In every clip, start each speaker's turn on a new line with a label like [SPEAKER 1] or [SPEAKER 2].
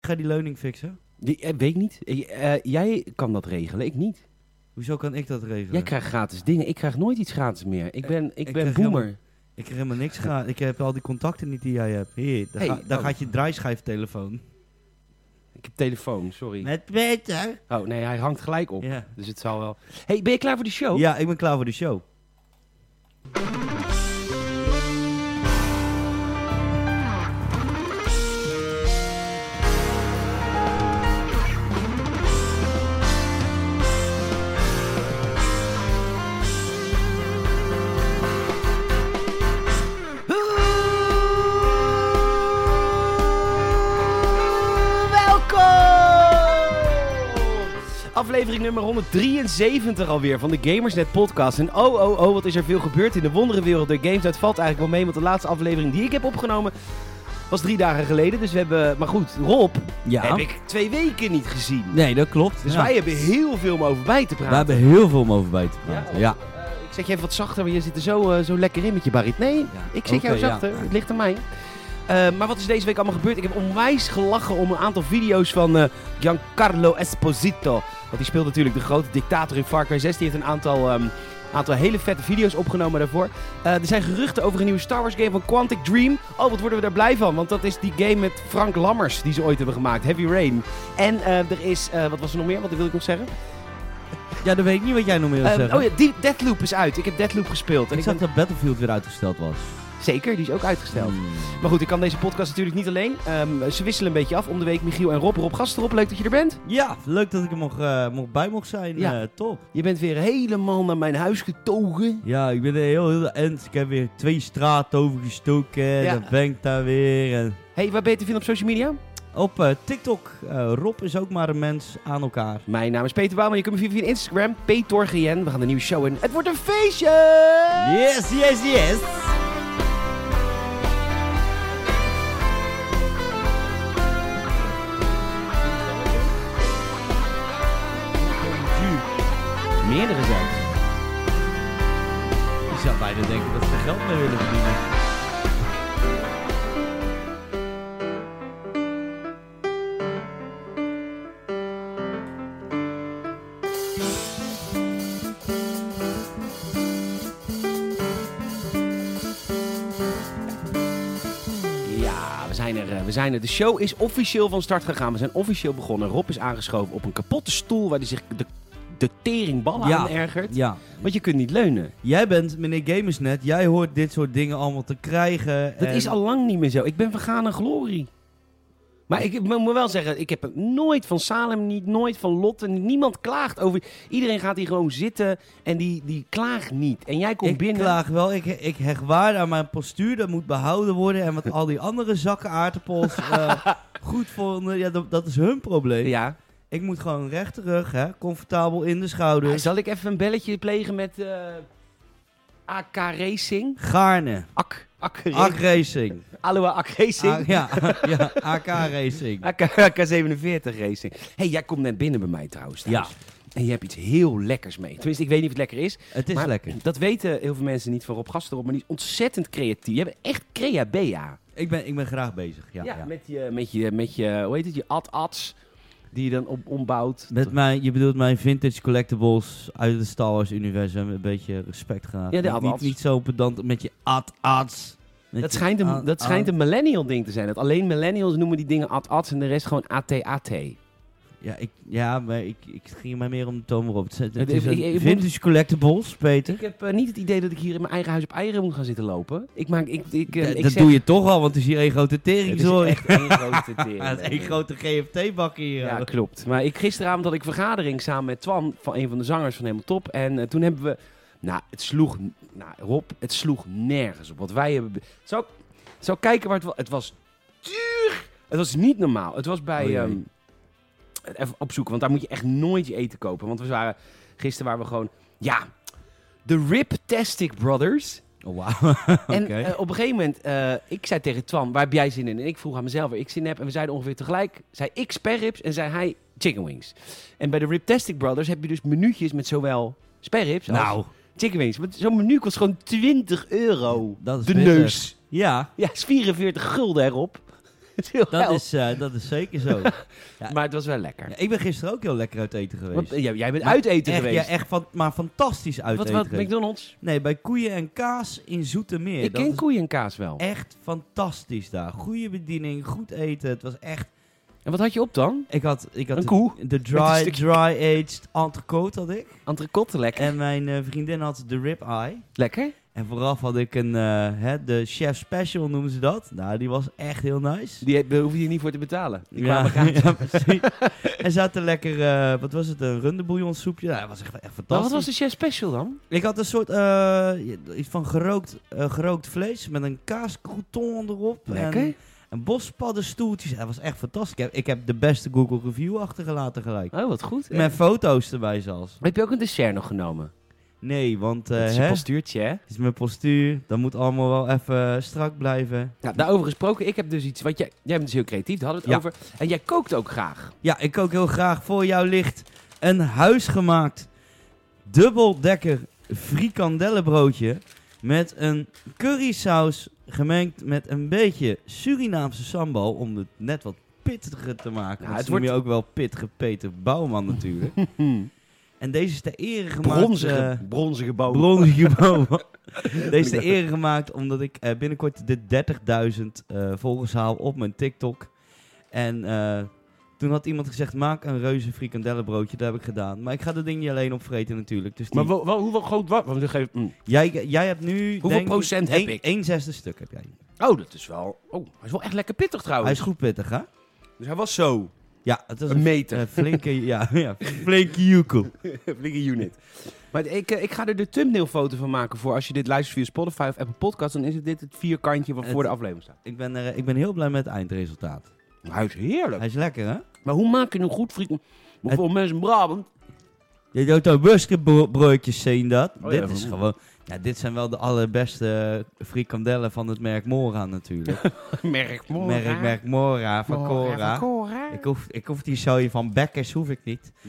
[SPEAKER 1] ga die leuning fixen.
[SPEAKER 2] Die, eh, weet ik niet. Eh, eh, jij kan dat regelen, ik niet.
[SPEAKER 1] Hoezo kan ik dat regelen?
[SPEAKER 2] Jij krijgt gratis dingen. Ik krijg nooit iets gratis meer. Ik ben, ik
[SPEAKER 1] ik
[SPEAKER 2] ben
[SPEAKER 1] krijg
[SPEAKER 2] boomer.
[SPEAKER 1] Ik heb helemaal niks gedaan. Ik heb al die contacten niet die jij hebt. Hier, daar,
[SPEAKER 2] Hey,
[SPEAKER 1] ga- daar
[SPEAKER 2] oh.
[SPEAKER 1] gaat je draaischijftelefoon.
[SPEAKER 2] Ik heb telefoon, sorry.
[SPEAKER 1] Met Peter.
[SPEAKER 2] Oh nee, hij hangt gelijk op.
[SPEAKER 1] Ja.
[SPEAKER 2] Dus het zal wel. Hey, ben je klaar voor de show?
[SPEAKER 1] Oh. ja, ik ben klaar voor de show.
[SPEAKER 2] Welkom! Aflevering nummer 173 alweer van de Gamersnet podcast. En oh, oh, oh, wat is er veel gebeurd in de wonderenwereld der games. Dat valt eigenlijk wel mee, want de laatste aflevering die ik heb opgenomen was drie dagen geleden. Dus we hebben, maar goed, Rob
[SPEAKER 1] Ja.
[SPEAKER 2] heb ik twee weken niet gezien.
[SPEAKER 1] Nee, dat klopt.
[SPEAKER 2] Dus wij hebben heel veel om over bij te praten.
[SPEAKER 1] heel veel om over bij te Ja.
[SPEAKER 2] Eh, ik zet je even wat zachter, want je zit er zo, eh, zo lekker in met je barit. Nee, ik zet jou zachter. Het ligt aan mij. Eh, maar wat is deze week allemaal gebeurd? Ik heb onwijs gelachen om een aantal video's van eh, Giancarlo Esposito. Want die speelt natuurlijk de grote dictator in Far Cry 6. Die heeft een aantal, ehm, aantal hele vette video's opgenomen daarvoor. Eh, er zijn geruchten over een nieuwe Star Wars game van Quantic Dream. Oh, wat worden we daar blij van? Want dat is die game met Frank Lammers die ze ooit hebben gemaakt. Heavy Rain. En eh, er is... eh, wat was er nog meer? Wat wil ik nog zeggen?
[SPEAKER 1] Ja, dan weet ik niet wat jij nog meer wil
[SPEAKER 2] Ehm,
[SPEAKER 1] zeggen.
[SPEAKER 2] oh ja, die, Deathloop is uit. Ik heb Deathloop gespeeld. En
[SPEAKER 1] Ik
[SPEAKER 2] ik
[SPEAKER 1] zag
[SPEAKER 2] ben-
[SPEAKER 1] dat Battlefield weer uitgesteld was. Hmm.
[SPEAKER 2] Zeker, die is ook uitgesteld. Maar goed, ik kan deze podcast natuurlijk niet alleen. Ehm, ze wisselen een beetje af. Om de week Michiel en Rob. Rob Gasterop, leuk dat je er bent.
[SPEAKER 1] Ja, leuk dat ik er mocht, eh, mocht bij mocht zijn.
[SPEAKER 2] Ja.
[SPEAKER 1] eh, top.
[SPEAKER 2] Je bent weer helemaal naar mijn huis getogen.
[SPEAKER 1] Ja, ik ben er heel, heel ends. Ik heb weer twee straten overgestoken.
[SPEAKER 2] Ja.
[SPEAKER 1] Dan ben ik daar weer. En
[SPEAKER 2] Hé, hey, waar ben je te vinden op social media?
[SPEAKER 1] op eh, TikTok. eh, Rob is ook maar een mens aan elkaar.
[SPEAKER 2] Mijn naam is Peter Bouwman. Je kunt me via, via Instagram, PetorGN. We gaan een nieuwe show in. Het wordt een feestje!
[SPEAKER 1] Yes, yes, yes.
[SPEAKER 2] Meerdere zelfs.
[SPEAKER 1] Je zou bijna denken dat ze er geld mee willen verdienen.
[SPEAKER 2] Ja, we zijn, er, eh, we zijn er. De show is officieel van start gegaan. We zijn officieel begonnen. Rob is aangeschoven op een kapotte stoel waar hij zich de, de teringballen
[SPEAKER 1] Ja.
[SPEAKER 2] aan ergert.
[SPEAKER 1] Ja.
[SPEAKER 2] Want je kunt niet leunen.
[SPEAKER 1] Jij bent, meneer Gamersnet, jij hoort dit soort dingen allemaal te krijgen.
[SPEAKER 2] Dat
[SPEAKER 1] en-
[SPEAKER 2] is al lang niet meer zo. Ik ben vergaan aan glorie. Maar ik mo- moet wel zeggen, ik heb het nooit van Salem, niet nooit van Lotte. Niemand klaagt over. Iedereen gaat hier gewoon zitten en die, die klaagt niet. En jij komt
[SPEAKER 1] ik
[SPEAKER 2] binnen.
[SPEAKER 1] klaag wel, ik, ik hecht waar aan mijn postuur, dat moet behouden worden. En wat al die andere zakken aardappels eh, goed vonden, ja, dat, dat is hun probleem.
[SPEAKER 2] Ja.
[SPEAKER 1] Ik moet gewoon recht terug, hè, comfortabel in de schouders.
[SPEAKER 2] Zal ik even een belletje plegen met eh, AK Racing?
[SPEAKER 1] Gaarne,
[SPEAKER 2] AK, AK,
[SPEAKER 1] AK
[SPEAKER 2] Racing.
[SPEAKER 1] Racing.
[SPEAKER 2] Aloha AK Racing.
[SPEAKER 1] A- ja, ja, AK Racing.
[SPEAKER 2] AK, AK47 Racing. hey, jij komt net binnen bij mij trouwens. thuis.
[SPEAKER 1] Ja.
[SPEAKER 2] En je hebt iets heel lekkers mee. Tenminste, ik weet niet of het lekker is.
[SPEAKER 1] Het is
[SPEAKER 2] Maar
[SPEAKER 1] lekker.
[SPEAKER 2] Dat weten heel veel mensen niet van Rob Gasterop, maar die is ontzettend creatief. Je bent echt crea bea.
[SPEAKER 1] Ik ben, ik ben graag bezig, ja.
[SPEAKER 2] Ja,
[SPEAKER 1] ja,
[SPEAKER 2] Met, je, met, je, met je, hoe heet het, je ad-ads die je dan op, ombouwt.
[SPEAKER 1] Met mijn, je bedoelt mijn vintage collectibles uit het Star Wars universum een beetje respect gaan.
[SPEAKER 2] Ja, de
[SPEAKER 1] niet, niet,
[SPEAKER 2] ad-ads.
[SPEAKER 1] niet zo pedant met je ad-ads. Met
[SPEAKER 2] Dat
[SPEAKER 1] je
[SPEAKER 2] schijnt, een,
[SPEAKER 1] ad-
[SPEAKER 2] dat schijnt een millennial ding te zijn. Dat alleen millennials noemen die dingen ad-ads en de rest gewoon AT-AT.
[SPEAKER 1] Ja, ik, ja maar ik, ik het ging er mij meer om de toon waarop. Het, het,
[SPEAKER 2] Het
[SPEAKER 1] is
[SPEAKER 2] is-
[SPEAKER 1] een
[SPEAKER 2] ik- ik moet-
[SPEAKER 1] vintage collectibles, Peter.
[SPEAKER 2] Ik heb eh, niet het idee dat ik hier in mijn eigen huis op eieren moet gaan zitten lopen. Ik maak, ik, ik, eh,
[SPEAKER 1] Ja,
[SPEAKER 2] ik
[SPEAKER 1] dat
[SPEAKER 2] zeg-
[SPEAKER 1] doe je toch al, want het is hier één grote
[SPEAKER 2] Het
[SPEAKER 1] tering,
[SPEAKER 2] is
[SPEAKER 1] sorry.
[SPEAKER 2] echt één grote
[SPEAKER 1] Ja, het is één
[SPEAKER 2] tering.
[SPEAKER 1] grote GFT-bak hier.
[SPEAKER 2] Ja, klopt. Maar ik, gisteravond had ik vergadering samen met Twan, van een van de zangers van Helemaal Top. En eh, toen hebben we... Nou, het sloeg... Nou, Rob, het sloeg nergens op. Wat wij hebben... be- Zou, zou kijken waar het was. Het was duur! Het was niet normaal. Het was bij...
[SPEAKER 1] Oh, jee.
[SPEAKER 2] ehm, even opzoeken, want daar moet je echt nooit je eten kopen. Want we waren... Gisteren waren we gewoon... Ja, de Riptastic Brothers...
[SPEAKER 1] Oh, wauw.
[SPEAKER 2] En
[SPEAKER 1] Oké.
[SPEAKER 2] eh, op een gegeven moment, eh, ik zei tegen Twan, waar heb jij zin in? En ik vroeg aan mezelf waar ik zin in heb. En we zeiden ongeveer tegelijk, zei ik sperrips en zei hij chicken wings. En bij de Riptastic Brothers heb je dus minuutjes met zowel sperrips als
[SPEAKER 1] nou,
[SPEAKER 2] chicken wings. Want Zo'n menu kost gewoon 20 euro.
[SPEAKER 1] dat is
[SPEAKER 2] De
[SPEAKER 1] bitter.
[SPEAKER 2] neus.
[SPEAKER 1] Ja.
[SPEAKER 2] Ja, is 44 gulden erop. is heel
[SPEAKER 1] Dat
[SPEAKER 2] geil.
[SPEAKER 1] is, eh, dat is zeker zo. ja.
[SPEAKER 2] Maar het was wel lekker.
[SPEAKER 1] Ja, ik ben gisteren ook heel lekker uit eten geweest.
[SPEAKER 2] Want, eh, jij- jij bent
[SPEAKER 1] Maar
[SPEAKER 2] uit eten
[SPEAKER 1] echt,
[SPEAKER 2] geweest.
[SPEAKER 1] Ja, echt van, maar fantastisch uit
[SPEAKER 2] wat,
[SPEAKER 1] eten
[SPEAKER 2] wat,
[SPEAKER 1] geweest.
[SPEAKER 2] McDonald's?
[SPEAKER 1] Nee, bij Koeien en Kaas in Zoetermeer.
[SPEAKER 2] ik
[SPEAKER 1] Dat
[SPEAKER 2] ken
[SPEAKER 1] is
[SPEAKER 2] koeien en kaas wel.
[SPEAKER 1] echt fantastisch daar. Goede bediening, goed eten. Het was echt...
[SPEAKER 2] En wat had je op dan?
[SPEAKER 1] Ik had, ik had
[SPEAKER 2] Een
[SPEAKER 1] de-
[SPEAKER 2] koe?
[SPEAKER 1] de,
[SPEAKER 2] Met een
[SPEAKER 1] dry,
[SPEAKER 2] stukje-
[SPEAKER 1] dry-aged entrecote had ik.
[SPEAKER 2] Entrecote lekker.
[SPEAKER 1] En mijn eh, vriendin had de ribeye.
[SPEAKER 2] lekker?
[SPEAKER 1] En vooraf had ik een, eh, hè, de chef special noemen ze dat. Nou, die was echt heel nice.
[SPEAKER 2] Die, daar hoef je niet voor te betalen. Die
[SPEAKER 1] ja,
[SPEAKER 2] kwamen gratis.
[SPEAKER 1] ja, precies. en ze had een lekker, eh, wat was het, een rundebouillon soepje. Nou, dat was echt, echt
[SPEAKER 2] Maar wat
[SPEAKER 1] fantastisch.
[SPEAKER 2] was de chef special dan?
[SPEAKER 1] Ik had een soort, eh, iets van gerookt, eh, gerookt vlees met een kaascrouton erop.
[SPEAKER 2] Lekker.
[SPEAKER 1] En, en bospaddenstoeltjes. Dat was echt fantastisch. Ik heb, ik heb de beste Google review achtergelaten gelijk.
[SPEAKER 2] Oh, wat goed.
[SPEAKER 1] Met foto's erbij zelfs.
[SPEAKER 2] Heb je ook een dessert nog genomen?
[SPEAKER 1] Nee, want eh,
[SPEAKER 2] dat is
[SPEAKER 1] hè,
[SPEAKER 2] een postuurtje, hè?
[SPEAKER 1] het is mijn postuur. Dat moet allemaal wel even strak blijven.
[SPEAKER 2] Ja, daarover gesproken, ik heb dus iets... Want jij, jij bent dus heel creatief, daar hadden we het
[SPEAKER 1] Ja.
[SPEAKER 2] over. En jij kookt ook graag.
[SPEAKER 1] Ja, ik kook heel graag voor jou licht een huisgemaakt dubbeldekker frikandellenbroodje met een currysaus gemengd met een beetje Surinaamse sambal om het net wat pittiger te maken.
[SPEAKER 2] Ja,
[SPEAKER 1] Want
[SPEAKER 2] het
[SPEAKER 1] ze noemen
[SPEAKER 2] wordt-
[SPEAKER 1] je ook wel pittige Peter Bouwman natuurlijk.
[SPEAKER 2] Hmm.
[SPEAKER 1] en deze is ter ere gemaakt... eh,
[SPEAKER 2] Bronzige, bronzige boom.
[SPEAKER 1] Bronzige bomen. Deze de ere gemaakt omdat ik eh, binnenkort de 30.000 eh, volgers haal op mijn TikTok. En eh, toen had iemand gezegd, maak een reuze frikandellenbroodje. Dat heb ik gedaan. Maar ik ga dat ding niet alleen opvreten natuurlijk. Dus die-
[SPEAKER 2] maar wel- wel- hoeveel groot was... Want dan geef- mm.
[SPEAKER 1] jij, jij hebt nu...
[SPEAKER 2] Hoeveel
[SPEAKER 1] denk
[SPEAKER 2] procent heb ik?
[SPEAKER 1] 1 zesde stuk heb jij.
[SPEAKER 2] Oh, dat is wel... Oh, hij is wel echt lekker pittig
[SPEAKER 1] Hij
[SPEAKER 2] trouwens.
[SPEAKER 1] is goed pittig, hè?
[SPEAKER 2] Dus hij was zo.
[SPEAKER 1] Ja, het is
[SPEAKER 2] Oh. Een
[SPEAKER 1] een,
[SPEAKER 2] meter.
[SPEAKER 1] eh, flinke... ja, ja, flinke joekel.
[SPEAKER 2] Flinke unit. Maar ik, eh, ik ga er de thumbnailfoto van maken voor als je dit luistert via Spotify of Apple Podcasts. Dan is het dit het vierkantje wat
[SPEAKER 1] Het-
[SPEAKER 2] voor de aflevering staat.
[SPEAKER 1] Ik ben, er, eh, ik ben heel blij met het eindresultaat.
[SPEAKER 2] Hij is heerlijk.
[SPEAKER 1] Hij is lekker, hè?
[SPEAKER 2] Maar hoe maak je nou goed, vriend? Hoeveel mensen in Brabant?
[SPEAKER 1] Je doet ook worstenbroodjes, zien dat.
[SPEAKER 2] Oh
[SPEAKER 1] dit
[SPEAKER 2] ja, van
[SPEAKER 1] is
[SPEAKER 2] hoe?
[SPEAKER 1] gewoon... Ja, dit zijn wel de allerbeste eh, frikandellen van het merk Mora natuurlijk.
[SPEAKER 2] Merk, Mora.
[SPEAKER 1] merk, merk Mora van
[SPEAKER 2] Mora,
[SPEAKER 1] Cora.
[SPEAKER 2] van Cora.
[SPEAKER 1] Ik hoef, ik hoef die zooi van Bekkers, hoef ik niet.
[SPEAKER 2] Hm.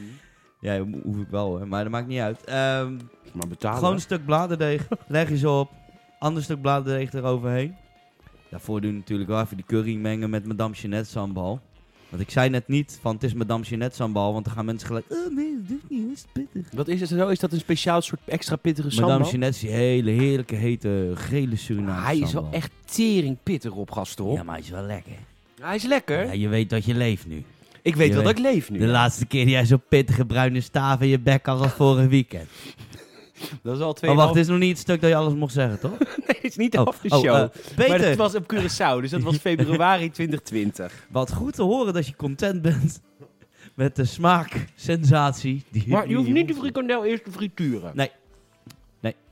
[SPEAKER 1] Ja, ho- hoef ik wel, hè, maar dat maakt niet uit. Ehm,
[SPEAKER 2] Maar betalen.
[SPEAKER 1] gewoon een stuk bladerdeeg, leg je ze op. Ander stuk bladerdeeg eroverheen. Daarvoor doen we natuurlijk wel even die curry mengen met Madame Jeanette sambal. Want ik zei net niet van het is Madame Jeanette sambal, want dan gaan mensen gelijk... Oh nee, dat doet niet, dat is pittig.
[SPEAKER 2] Wat is het zo? Is dat een speciaal soort extra pittige
[SPEAKER 1] Madame
[SPEAKER 2] sambal?
[SPEAKER 1] Jeanette is die hele heerlijke, hete, gele Surinaamse
[SPEAKER 2] Hij is
[SPEAKER 1] sambal.
[SPEAKER 2] wel echt tering pittig op gastrol.
[SPEAKER 1] Ja, maar hij is wel lekker.
[SPEAKER 2] Hij is lekker.
[SPEAKER 1] Ja, je weet dat je leeft nu.
[SPEAKER 2] ik weet
[SPEAKER 1] je
[SPEAKER 2] wel dat
[SPEAKER 1] weet-
[SPEAKER 2] ik leef nu.
[SPEAKER 1] De laatste keer jij zo'n pittige bruine staaf in je bek had als vorig weekend.
[SPEAKER 2] Dat is al twee.
[SPEAKER 1] Maar Oh, wacht, dit is nog niet het stuk dat je alles mocht zeggen, toch?
[SPEAKER 2] nee, het is niet af de
[SPEAKER 1] oh,
[SPEAKER 2] show.
[SPEAKER 1] eh,
[SPEAKER 2] maar
[SPEAKER 1] Peter,
[SPEAKER 2] het was op Curaçao, dus dat was februari 2020.
[SPEAKER 1] wat goed te horen dat je content bent met de smaak, sensatie. Die,
[SPEAKER 2] Maar je hoeft
[SPEAKER 1] die-
[SPEAKER 2] niet de frikandel eerst te
[SPEAKER 1] Nou,
[SPEAKER 2] frituren.
[SPEAKER 1] Nee,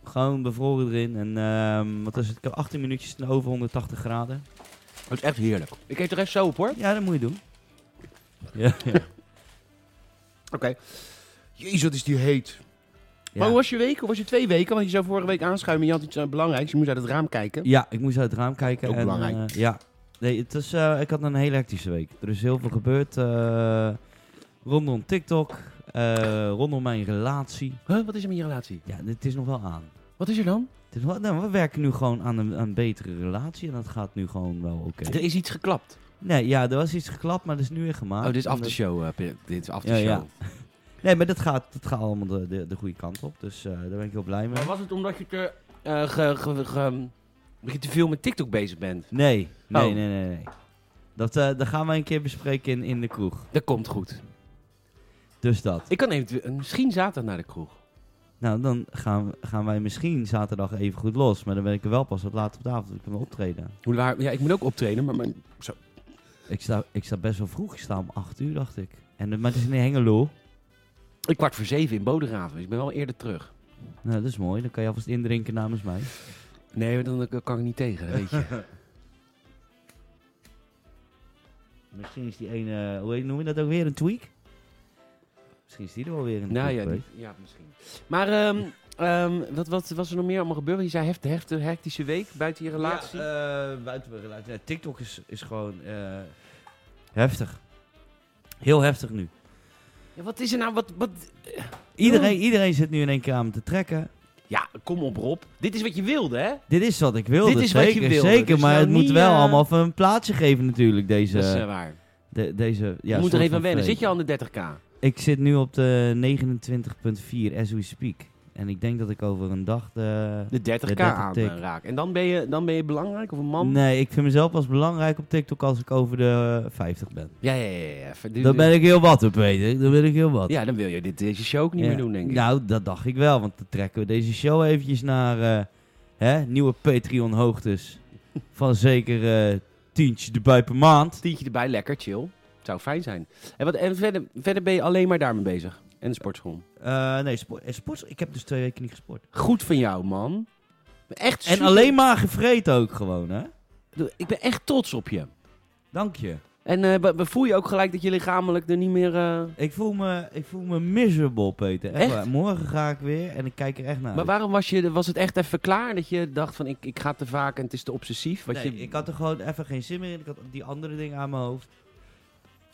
[SPEAKER 1] gewoon bevroren erin. En ehm, wat is het? Ik heb 18 minuutjes en over 180 graden.
[SPEAKER 2] Dat is echt heerlijk. Ik eet de rest zo op hoor.
[SPEAKER 1] Ja, dat moet je doen. Ja, ja.
[SPEAKER 2] Oké. Jezus, wat is die heet. Maar
[SPEAKER 1] Ja.
[SPEAKER 2] hoe was je week? Hoe was je twee weken? Want je zou vorige week aanschuiven en je had iets eh, belangrijks. Je moest uit het raam kijken.
[SPEAKER 1] Ja, ik moest uit het raam kijken.
[SPEAKER 2] Ook
[SPEAKER 1] en,
[SPEAKER 2] belangrijk.
[SPEAKER 1] eh, ja. Nee, het is, eh, ik had een hele hectische week. Er is heel veel gebeurd eh, rondom TikTok, eh, rondom mijn relatie.
[SPEAKER 2] Huh, wat is er met je relatie?
[SPEAKER 1] Ja, het is nog wel aan.
[SPEAKER 2] Wat is er dan?
[SPEAKER 1] Het is wel, nou, we werken nu gewoon aan een, aan een betere relatie en dat gaat nu gewoon wel oké.
[SPEAKER 2] Er is iets geklapt.
[SPEAKER 1] Nee, ja, er was iets geklapt, maar dat is nu weer gemaakt.
[SPEAKER 2] Oh, dit is
[SPEAKER 1] En
[SPEAKER 2] af de
[SPEAKER 1] dat-
[SPEAKER 2] show. eh, Pim. dit is af de
[SPEAKER 1] Ja,
[SPEAKER 2] show.
[SPEAKER 1] ja. Nee, maar dat gaat, dat gaat allemaal de, de, de goede kant op. Dus eh, daar ben ik heel blij mee.
[SPEAKER 2] Maar was het omdat je te, eh, ge- ge- ge- dat je te veel met TikTok bezig bent?
[SPEAKER 1] Nee, nee,
[SPEAKER 2] Oh.
[SPEAKER 1] nee, nee. nee. Dat, eh, dat gaan wij een keer bespreken in, in de kroeg.
[SPEAKER 2] Dat komt goed.
[SPEAKER 1] Dus dat.
[SPEAKER 2] Ik kan eventueel, misschien zaterdag naar de kroeg.
[SPEAKER 1] Nou, dan gaan, gaan wij misschien zaterdag even goed los. Maar dan ben ik er wel pas wat laat op de avond. want Ik kan optreden.
[SPEAKER 2] Hoe laat? Ja, ik moet ook optreden, maar mijn- zo.
[SPEAKER 1] Ik sta, ik sta best wel vroeg. Ik sta om 8 uur, dacht ik. En, het- maar het is in Hengelo.
[SPEAKER 2] Ik kwart voor zeven in Bodegraven, dus ik ben wel eerder terug.
[SPEAKER 1] Nou, dat is mooi. Dan kan je alvast indrinken namens mij.
[SPEAKER 2] Nee, dan eh, kan ik niet tegen, dat weet je.
[SPEAKER 1] Misschien is die ene, eh, hoe heet- noem je dat ook weer? Een tweak? Misschien is die er wel weer een
[SPEAKER 2] nou
[SPEAKER 1] tweak
[SPEAKER 2] ja,
[SPEAKER 1] bij.
[SPEAKER 2] die- ja, misschien. Maar ehm, ehm, wat, wat was er nog meer allemaal gebeurd? Want je zei heft, heft, hectische week buiten je relatie.
[SPEAKER 1] Ja, eh, buiten mijn relatie. Ja, TikTok is, is gewoon eh, heftig. Heel heftig nu.
[SPEAKER 2] Ja, wat is er nou? Wat, wat,
[SPEAKER 1] Iedereen, iedereen zit nu in één keer aan me te trekken.
[SPEAKER 2] Ja, kom op Rob. Dit is wat je wilde, hè?
[SPEAKER 1] Dit is wat ik wilde.
[SPEAKER 2] Dit is wat je
[SPEAKER 1] zeker,
[SPEAKER 2] wilde.
[SPEAKER 1] Zeker,
[SPEAKER 2] Dus
[SPEAKER 1] maar
[SPEAKER 2] nou
[SPEAKER 1] het moet
[SPEAKER 2] niet,
[SPEAKER 1] wel
[SPEAKER 2] eh,
[SPEAKER 1] allemaal van een plaatsje geven natuurlijk, deze...
[SPEAKER 2] Dat is eh, waar.
[SPEAKER 1] de- deze ja,
[SPEAKER 2] je moet er
[SPEAKER 1] soort
[SPEAKER 2] even
[SPEAKER 1] van
[SPEAKER 2] aan wennen.
[SPEAKER 1] vrees.
[SPEAKER 2] Zit je al aan de 30k?
[SPEAKER 1] Ik zit nu op de 29.4 as we speak. En ik denk dat ik over een dag de...
[SPEAKER 2] De 30k
[SPEAKER 1] De 30
[SPEAKER 2] aan
[SPEAKER 1] tik.
[SPEAKER 2] eh, raak. En dan ben, je, dan ben je belangrijk of een man?
[SPEAKER 1] Nee, ik vind mezelf pas belangrijk op TikTok als ik over de eh, 50 ben.
[SPEAKER 2] Ja, ja, ja. ja. Even-
[SPEAKER 1] Dan ben ik heel wat op, weet ik. Dan ben ik heel wat.
[SPEAKER 2] Ja, dan wil je dit, deze show ook niet
[SPEAKER 1] Ja.
[SPEAKER 2] meer doen, denk ik.
[SPEAKER 1] Nou, dat dacht ik wel, want dan trekken we deze show eventjes naar eh, hè, nieuwe Patreon-hoogtes. van zeker eh tientje erbij per maand.
[SPEAKER 2] Tientje erbij, lekker, chill. Zou fijn zijn. En, wat, en verder, verder ben je alleen maar daarmee bezig. En de sportschool.
[SPEAKER 1] Eh, nee, sport, eh, sport, ik heb dus twee weken niet gesport.
[SPEAKER 2] Goed van jou, man. Echt
[SPEAKER 1] En
[SPEAKER 2] super-
[SPEAKER 1] alleen maar gevreten ook gewoon, hè?
[SPEAKER 2] Ik ben echt trots op je.
[SPEAKER 1] Dank je.
[SPEAKER 2] En eh, we- we voel je ook gelijk dat je lichamelijk er niet meer... eh,
[SPEAKER 1] Ik voel me, ik voel me miserable, Peter.
[SPEAKER 2] Echt?
[SPEAKER 1] waar. Morgen ga ik weer en ik kijk er echt naar
[SPEAKER 2] Maar
[SPEAKER 1] uit.
[SPEAKER 2] waarom was, je, was het echt even klaar dat je dacht van ik, ik ga te vaak en het is te obsessief? Wat
[SPEAKER 1] Nee,
[SPEAKER 2] je,
[SPEAKER 1] ik had er gewoon even geen zin meer in. Ik had die andere dingen aan mijn hoofd.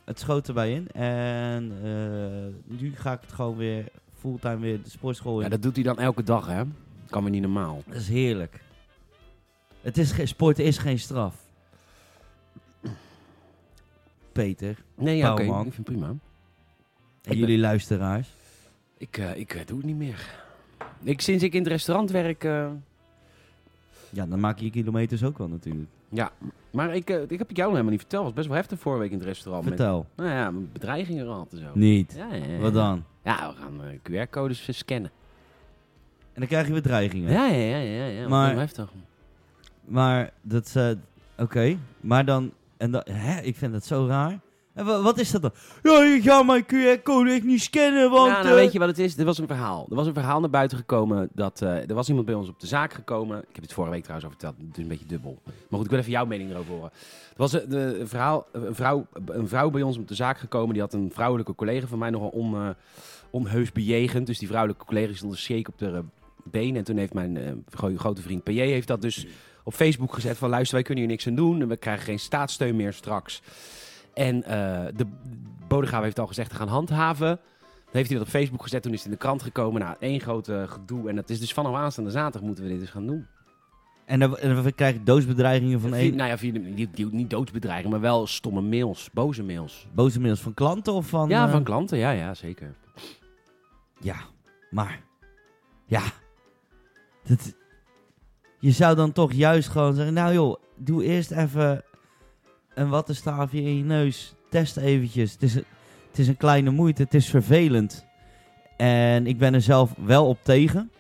[SPEAKER 1] Het schoot erbij in. En eh, nu ga ik het gewoon weer fulltime weer de sportschool in.
[SPEAKER 2] ja, dat doet hij dan elke dag, hè? Kan weer niet normaal.
[SPEAKER 1] Dat is heerlijk. Het is geen, sport is geen straf. Peter,
[SPEAKER 2] Nee, ja, oké.
[SPEAKER 1] Pauw, man.
[SPEAKER 2] Ik vind het prima.
[SPEAKER 1] en
[SPEAKER 2] Ik
[SPEAKER 1] jullie luisteraars.
[SPEAKER 2] Ik, eh, ik eh, doe het niet meer. Ik, sinds ik in het restaurant werk... eh,
[SPEAKER 1] Ja, dan maak je je kilometers ook wel natuurlijk.
[SPEAKER 2] maar ik, eh, ik heb het jou nog helemaal niet verteld. Het was best wel heftig vorige week in het restaurant. met-
[SPEAKER 1] Vertel.
[SPEAKER 2] nou ja, met bedreigingen gehad en zo.
[SPEAKER 1] Niet.
[SPEAKER 2] Ja, ja, ja.
[SPEAKER 1] Wat dan?
[SPEAKER 2] Ja, we gaan eh, QR-codes scannen.
[SPEAKER 1] En dan krijg je bedreigingen.
[SPEAKER 2] Ja, ja, ja, ja. ja. Wat
[SPEAKER 1] Maar-
[SPEAKER 2] heel heftig.
[SPEAKER 1] Maar dat ze... Oké, maar dan... En dan hè, ik vind dat zo raar. En wa- wat is dat dan? Ja, je gaat mijn QR-code echt niet scannen, want...
[SPEAKER 2] nou, nou,
[SPEAKER 1] eh,
[SPEAKER 2] weet je wat het is? Er was een verhaal. Er was een verhaal naar buiten gekomen dat eh, er was iemand bij ons op de zaak gekomen. Ik heb dit vorige week trouwens al verteld. Het is een beetje dubbel. Maar goed, ik wil even jouw mening erover horen. Er was een, de- een verhaal, een, vrouw, een vrouw bij ons op de zaak gekomen. Die had een vrouwelijke collega van mij nogal on, eh, onheus bejegend. Dus die vrouwelijke collega stond een shake op de benen. En toen heeft mijn eh, gro- grote vriend PJ heeft dat dus op Facebook gezet van luister, wij kunnen hier niks aan doen. en We krijgen geen staatssteun meer straks. En eh, de bodegraaf heeft al gezegd te gaan handhaven. Dan heeft hij dat op Facebook gezet, toen is het in de krant gekomen. Nou, één groot eh, gedoe. En dat is dus vanaf aanstaande zaterdag moeten we dit eens gaan doen.
[SPEAKER 1] En dan, en dan krijg ik doosbedreigingen van
[SPEAKER 2] Via-
[SPEAKER 1] één...
[SPEAKER 2] Nou ja, via, de- niet, niet- niet doodsbedreiging, maar wel stomme mails, boze mails.
[SPEAKER 1] Boze mails van klanten of van...
[SPEAKER 2] ja,
[SPEAKER 1] eh,
[SPEAKER 2] van klanten, ja, ja, zeker.
[SPEAKER 1] Ja, maar. Ja. Dat, je zou dan toch juist gewoon zeggen: Nou, joh, doe eerst even een wattenstaafje in je neus. Test eventjes. Het is, een- het is een kleine moeite. Het is vervelend. En ik ben er zelf wel op tegen.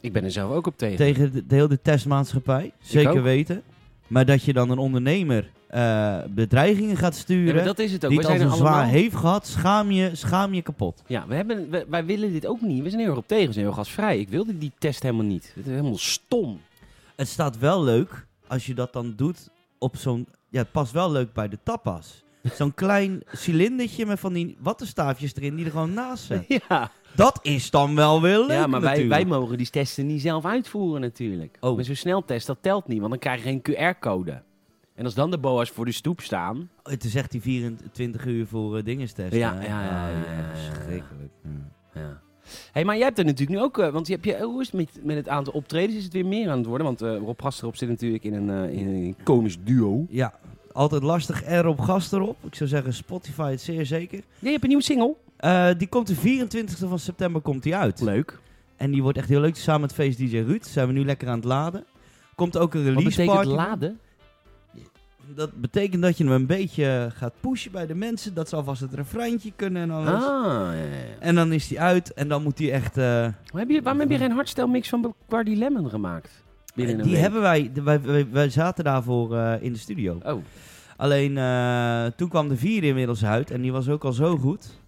[SPEAKER 2] Ik ben er zelf ook op tegen.
[SPEAKER 1] Tegen de, de hele testmaatschappij. Zeker
[SPEAKER 2] ook.
[SPEAKER 1] weten. Maar dat je dan een ondernemer eh, bedreigingen gaat
[SPEAKER 2] Ja,
[SPEAKER 1] sturen.
[SPEAKER 2] maar dat is het ook.
[SPEAKER 1] die
[SPEAKER 2] Wij
[SPEAKER 1] het
[SPEAKER 2] zijn
[SPEAKER 1] al
[SPEAKER 2] er
[SPEAKER 1] zo
[SPEAKER 2] allemaal...
[SPEAKER 1] zwaar heeft gehad. Schaam je, schaam je kapot.
[SPEAKER 2] Ja, we hebben, we- wij willen dit ook niet. We zijn heel erg op tegen, we zijn heel gastvrij. Ik wilde die test helemaal niet. Het is helemaal stom.
[SPEAKER 1] Het staat wel leuk als je dat dan doet op zo'n... Ja, het past wel leuk bij de tapas. Zo'n klein cilindertje met van die wattenstaafjes erin die er gewoon naast zijn.
[SPEAKER 2] Ja.
[SPEAKER 1] Dat is dan wel weer leuk
[SPEAKER 2] ja, maar wij,
[SPEAKER 1] natuurlijk.
[SPEAKER 2] wij mogen die testen niet zelf uitvoeren natuurlijk.
[SPEAKER 1] Oh.
[SPEAKER 2] Maar zo'n sneltest, dat telt niet, want dan krijg je geen QR-code. En als dan de boa's voor de stoep staan...
[SPEAKER 1] Oh, Het is echt die 24 uur voor eh, dinges testen.
[SPEAKER 2] Ja,
[SPEAKER 1] hè?
[SPEAKER 2] ja, ja,
[SPEAKER 1] Oh,
[SPEAKER 2] ja, ja, ja.
[SPEAKER 1] verschrikkelijk. Hmm. Ja.
[SPEAKER 2] Ja. hey, maar jij hebt er natuurlijk nu ook... eh, want je, heb je, hoe is het met, met het aantal optredens? Is het weer meer aan het worden? Want eh Rob Gasterop zit natuurlijk in een, eh, in een komisch duo.
[SPEAKER 1] Ja, altijd lastig erop gast erop. Ik zou zeggen Spotify het zeer zeker.
[SPEAKER 2] Ja, je hebt een nieuwe single.
[SPEAKER 1] Eh, die komt de 24e van september komt die uit.
[SPEAKER 2] Leuk.
[SPEAKER 1] En die wordt echt heel leuk. Samen met Face DJ Ruud zijn we nu lekker aan het laden. Komt ook een
[SPEAKER 2] Wat
[SPEAKER 1] release
[SPEAKER 2] betekent
[SPEAKER 1] party.
[SPEAKER 2] laden?
[SPEAKER 1] Dat betekent dat je hem een beetje gaat pushen bij de mensen. Dat ze alvast het refreintje kunnen en alles.
[SPEAKER 2] Ah, ja, ja, ja.
[SPEAKER 1] En dan is hij uit en dan moet hij echt... eh,
[SPEAKER 2] Hoe heb je, waarom heb je geen hardstel mix van Bacardi Lemon gemaakt? Binnen een
[SPEAKER 1] Eh, die
[SPEAKER 2] week?
[SPEAKER 1] hebben wij, de- wij, wij, wij zaten daarvoor eh, in de studio.
[SPEAKER 2] Oh,
[SPEAKER 1] Alleen eh, toen kwam de vierde inmiddels uit en die was ook al zo goed.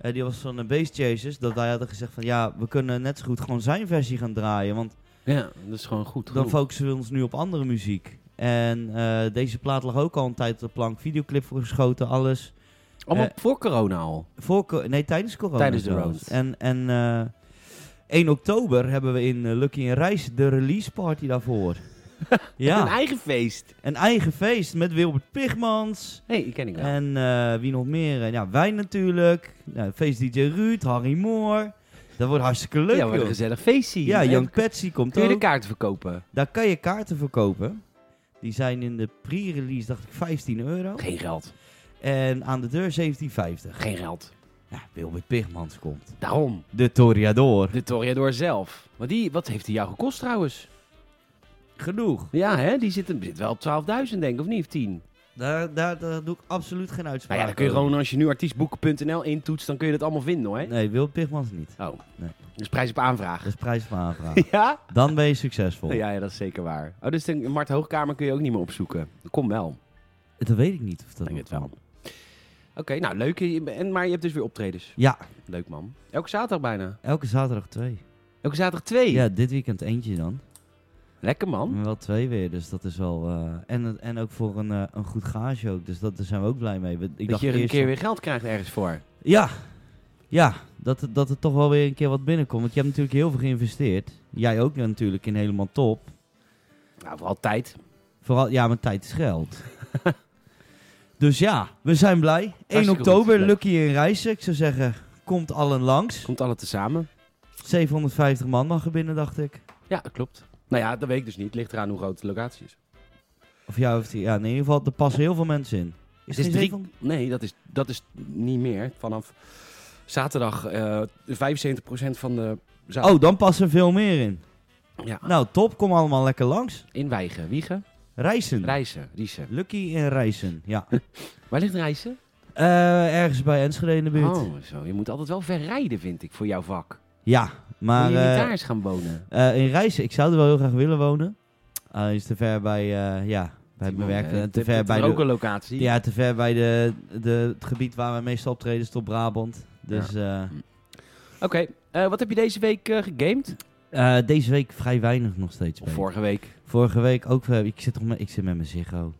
[SPEAKER 1] Eh, die was van de Bass Chasers. Dat wij hadden gezegd van ja, we kunnen net zo goed gewoon zijn versie gaan draaien. Want
[SPEAKER 2] ja, dat is gewoon goed.
[SPEAKER 1] dan
[SPEAKER 2] genoeg.
[SPEAKER 1] focussen we ons nu op andere muziek. En eh, deze plaat lag ook al een tijd op de plank. Videoclip voor geschoten, alles.
[SPEAKER 2] Allemaal
[SPEAKER 1] Eh,
[SPEAKER 2] voor corona al.
[SPEAKER 1] Voor, co- nee, tijdens corona.
[SPEAKER 2] Tijdens de
[SPEAKER 1] zelfs.
[SPEAKER 2] road.
[SPEAKER 1] En, en eh, 1 oktober hebben we in eh, Lucky in Rijs de release party daarvoor.
[SPEAKER 2] Een
[SPEAKER 1] ja,
[SPEAKER 2] eigen feest.
[SPEAKER 1] een eigen feest met Wilbert Pigmans.
[SPEAKER 2] Hé, die ken ik wel.
[SPEAKER 1] En eh, wie nog meer? Eh, Ja, wij natuurlijk. Nou, feest DJ Ruud, Harry Moore. Dat wordt hartstikke leuk,
[SPEAKER 2] ja, wat een
[SPEAKER 1] joh.
[SPEAKER 2] gezellig feestje.
[SPEAKER 1] Ja,
[SPEAKER 2] En
[SPEAKER 1] Young Patsy komt
[SPEAKER 2] Kun je de
[SPEAKER 1] ook.
[SPEAKER 2] kaarten verkopen?
[SPEAKER 1] Daar kan je kaarten voor kopen. Die zijn in de pre-release, dacht ik, 15 euro.
[SPEAKER 2] Geen geld.
[SPEAKER 1] En aan de deur 17,50.
[SPEAKER 2] Geen geld.
[SPEAKER 1] Ja, Wilbert Pigmans komt.
[SPEAKER 2] Daarom.
[SPEAKER 1] De Toriador.
[SPEAKER 2] De Toriador zelf. Maar die, wat heeft hij jou gekost trouwens?
[SPEAKER 1] Genoeg.
[SPEAKER 2] Ja, hè? Die zit, zit wel op 12.000 denk ik, of niet? Of 10?
[SPEAKER 1] Daar, daar, daar doe ik absoluut geen uitspraak
[SPEAKER 2] Nou ja, dan kun je
[SPEAKER 1] over.
[SPEAKER 2] gewoon, als je nu artiestboeken.nl intoetst, dan kun je dat allemaal vinden hoor.
[SPEAKER 1] Nee, Wilbert Pigmans niet.
[SPEAKER 2] Oh,
[SPEAKER 1] Nee.
[SPEAKER 2] dus prijs op
[SPEAKER 1] Dat
[SPEAKER 2] aanvraag.
[SPEAKER 1] is prijs van aanvraag.
[SPEAKER 2] Ja?
[SPEAKER 1] Dan ben je succesvol.
[SPEAKER 2] ja? Ja, dat is zeker waar. Oh, dus de Mart Hoogkamer kun je ook niet meer opzoeken. Kom wel.
[SPEAKER 1] Dat weet ik niet of dat
[SPEAKER 2] Ik
[SPEAKER 1] nog
[SPEAKER 2] weet het wel.
[SPEAKER 1] kan.
[SPEAKER 2] Oké, nou leuk. Je- En, maar je hebt dus weer optredens.
[SPEAKER 1] Ja,
[SPEAKER 2] Leuk man. Elke zaterdag bijna.
[SPEAKER 1] elke zaterdag twee.
[SPEAKER 2] Elke zaterdag twee.
[SPEAKER 1] Ja, dit weekend eentje dan.
[SPEAKER 2] Lekker man.
[SPEAKER 1] Maar wel twee weer, dus dat is wel... eh, en, en ook voor een, eh, een goed gage ook, dus dat, daar zijn we ook blij mee. We- Ik
[SPEAKER 2] dat je er een
[SPEAKER 1] eerst-
[SPEAKER 2] keer weer geld krijgt ergens voor.
[SPEAKER 1] Ja, ja dat, het- dat er toch wel weer een keer wat binnenkomt. Want je hebt natuurlijk heel veel geïnvesteerd. Jij ook natuurlijk in helemaal top.
[SPEAKER 2] Nou, voor altijd.
[SPEAKER 1] Vooral, ja, mijn tijd is geld. dus ja, we zijn blij. 1
[SPEAKER 2] Hartstikke
[SPEAKER 1] oktober,
[SPEAKER 2] goed.
[SPEAKER 1] Lucky in Rijssen. Ik zou zeggen, komt allen langs.
[SPEAKER 2] Komt alle tezamen.
[SPEAKER 1] 750 man mag er binnen, dacht ik.
[SPEAKER 2] Ja, dat klopt. Nou ja, dat weet ik dus niet. Ligt eraan hoe groot de locatie is.
[SPEAKER 1] Of ja, of die, ja, in ieder geval, er passen heel veel mensen in.
[SPEAKER 2] Het
[SPEAKER 1] geen
[SPEAKER 2] is drie-
[SPEAKER 1] zeven-
[SPEAKER 2] Nee, dat is, dat is niet meer. Vanaf zaterdag eh 75% van de zaal.
[SPEAKER 1] Oh, dan passen veel meer in.
[SPEAKER 2] Ja,
[SPEAKER 1] Nou, top. Kom allemaal lekker langs.
[SPEAKER 2] inwijgen. Wiegen.
[SPEAKER 1] Rijssen.
[SPEAKER 2] Reizen. Riesen.
[SPEAKER 1] Lucky in Rijssen, ja.
[SPEAKER 2] Waar ligt Reizen?
[SPEAKER 1] Eh, ergens bij Enschede in de buurt.
[SPEAKER 2] Oh, zo. Je moet altijd wel ver rijden, vind ik, voor jouw vak.
[SPEAKER 1] Ja, maar...
[SPEAKER 2] Maar, Moet je niet
[SPEAKER 1] eh,
[SPEAKER 2] daar eens gaan wonen?
[SPEAKER 1] Eh, in Rijssen, ik zou er wel heel graag willen wonen. Alleen is te ver bij, eh, ja, bij mijn werk. en te ver bij,
[SPEAKER 2] ook
[SPEAKER 1] de,
[SPEAKER 2] een locatie.
[SPEAKER 1] ja, te ver bij de, de, het gebied waar we meestal optreden, is tot Brabant. Dus eh,
[SPEAKER 2] Oké, eh, wat heb je deze week eh, gegamed?
[SPEAKER 1] eh, deze week vrij weinig nog steeds.
[SPEAKER 2] Of
[SPEAKER 1] mee.
[SPEAKER 2] vorige week?
[SPEAKER 1] Vorige week ook. eh, ik, zit toch met, ik zit met mijn Ziggo.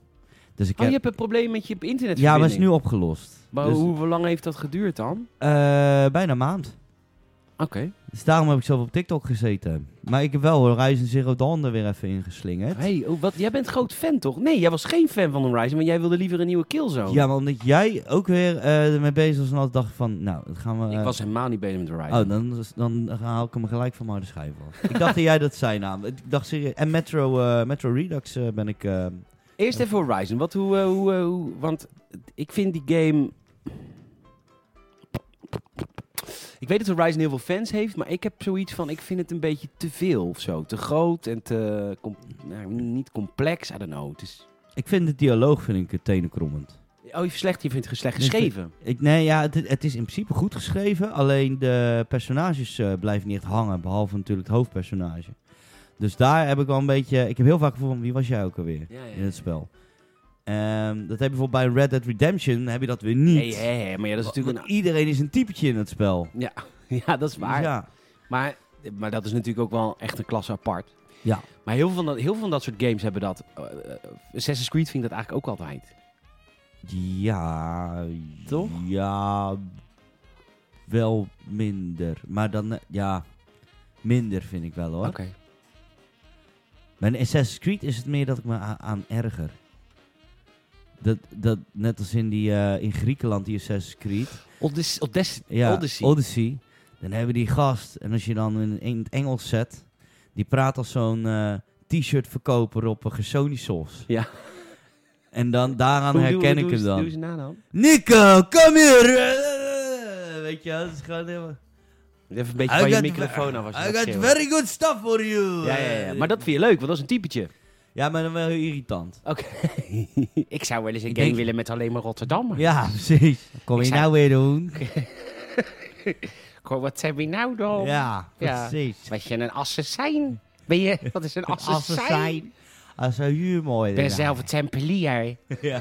[SPEAKER 1] Dus ik
[SPEAKER 2] Oh, je
[SPEAKER 1] heb,
[SPEAKER 2] hebt een probleem met je internet.
[SPEAKER 1] ja, maar is nu opgelost.
[SPEAKER 2] Maar
[SPEAKER 1] Dus,
[SPEAKER 2] hoe, hoe lang heeft dat geduurd dan?
[SPEAKER 1] eh, bijna een maand.
[SPEAKER 2] Oké.
[SPEAKER 1] Dus daarom heb ik zelf op TikTok gezeten. Maar ik heb wel Horizon Zero Dawn er weer even ingeslingerd.
[SPEAKER 2] Hey, oh, wat, jij bent groot fan toch? Nee, jij was geen fan van Horizon, want jij wilde liever een nieuwe Killzone.
[SPEAKER 1] Ja, maar omdat jij ook weer eh ermee bezig was en altijd dacht van, nou, dat gaan we...
[SPEAKER 2] Ik
[SPEAKER 1] eh,
[SPEAKER 2] was helemaal niet bezig met Horizon.
[SPEAKER 1] Oh, dan, is- dan haal ik hem gelijk van mijn harde schijf af. ik dacht dat jij dat zei naam. Ik dacht serieus. En Metro, eh, Metro Redux eh, ben ik... eh,
[SPEAKER 2] Eerst even Horizon. Wat, hoe, eh, hoe, eh, hoe- want ik vind die game... Ik weet dat Horizon heel veel fans heeft, maar ik heb zoiets van... Ik vind het een beetje te veel of zo. Te groot en te... com- nou, niet complex, I don't know. Het is,
[SPEAKER 1] ik vind de dialoog vind ik eh, tenenkrommend.
[SPEAKER 2] oh, je, slecht, je vindt het slecht
[SPEAKER 1] Dus de-
[SPEAKER 2] geschreven.
[SPEAKER 1] Ik, nee, ja, het, het is in principe goed geschreven. Alleen de personages eh, blijven niet echt hangen. Behalve natuurlijk het hoofdpersonage. Dus daar heb ik wel een beetje... Ik heb heel vaak het gevoel van, wie was jij ook alweer
[SPEAKER 2] Ja, ja,
[SPEAKER 1] in het spel? Ehm, dat heb je bijvoorbeeld bij Red Dead Redemption, heb je dat weer niet.
[SPEAKER 2] Hey, hey, hey, maar ja, dat is natuurlijk...
[SPEAKER 1] Want iedereen is een typetje in het spel. Dus
[SPEAKER 2] Een, ja, ja, dat is waar.
[SPEAKER 1] Ja.
[SPEAKER 2] Maar, maar dat is natuurlijk ook wel echt een klasse apart.
[SPEAKER 1] Ja.
[SPEAKER 2] Maar heel veel van dat, heel veel van dat soort games hebben dat. Eh, eh, Assassin's Creed vind ik dat eigenlijk ook altijd.
[SPEAKER 1] Ja,
[SPEAKER 2] Toch?
[SPEAKER 1] Ja, wel minder. Maar dan, eh, ja, minder vind ik wel hoor. Bij een Assassin's Creed is het meer dat ik me a- aan erger. Dat, dat, net als in, die, eh, in Griekenland, die Assassin's Creed.
[SPEAKER 2] Odyssey. Odyssey.
[SPEAKER 1] Ja,
[SPEAKER 2] Odyssey.
[SPEAKER 1] Dan hebben die gast, en als je dan in, in het Engels zet, die praat als zo'n eh, t-shirt verkoper op een gesonisos.
[SPEAKER 2] Ja.
[SPEAKER 1] En dan, daaraan
[SPEAKER 2] Hoe doe-
[SPEAKER 1] herken
[SPEAKER 2] doe
[SPEAKER 1] ik
[SPEAKER 2] eens-
[SPEAKER 1] hem dan.
[SPEAKER 2] Doe eens na dan.
[SPEAKER 1] Nico, kom hier! Eh, Weet je, wel, dat is gewoon helemaal...
[SPEAKER 2] Even een beetje
[SPEAKER 1] I
[SPEAKER 2] van je
[SPEAKER 1] got-
[SPEAKER 2] microfoon af. Als je
[SPEAKER 1] I
[SPEAKER 2] gaat
[SPEAKER 1] got
[SPEAKER 2] schreeuwen.
[SPEAKER 1] very good stuff for you!
[SPEAKER 2] ja, ja, ja. Maar dat vind je leuk, want dat is een typetje.
[SPEAKER 1] Ja, maar dan wel heel irritant.
[SPEAKER 2] Oké. ik zou wel eens een
[SPEAKER 1] Ik
[SPEAKER 2] game
[SPEAKER 1] denk-
[SPEAKER 2] willen met alleen maar Rotterdam.
[SPEAKER 1] Ja, precies. Wat kom
[SPEAKER 2] Ik
[SPEAKER 1] je
[SPEAKER 2] zei-
[SPEAKER 1] nou weer doen?
[SPEAKER 2] Wat heb je nou dan?
[SPEAKER 1] Ja,
[SPEAKER 2] Ja.
[SPEAKER 1] precies.
[SPEAKER 2] Was je een assassin? Ben je, wat is een assassin?
[SPEAKER 1] Assassin. Als een humor.
[SPEAKER 2] Ik ben zelf een tempelier.
[SPEAKER 1] Ja.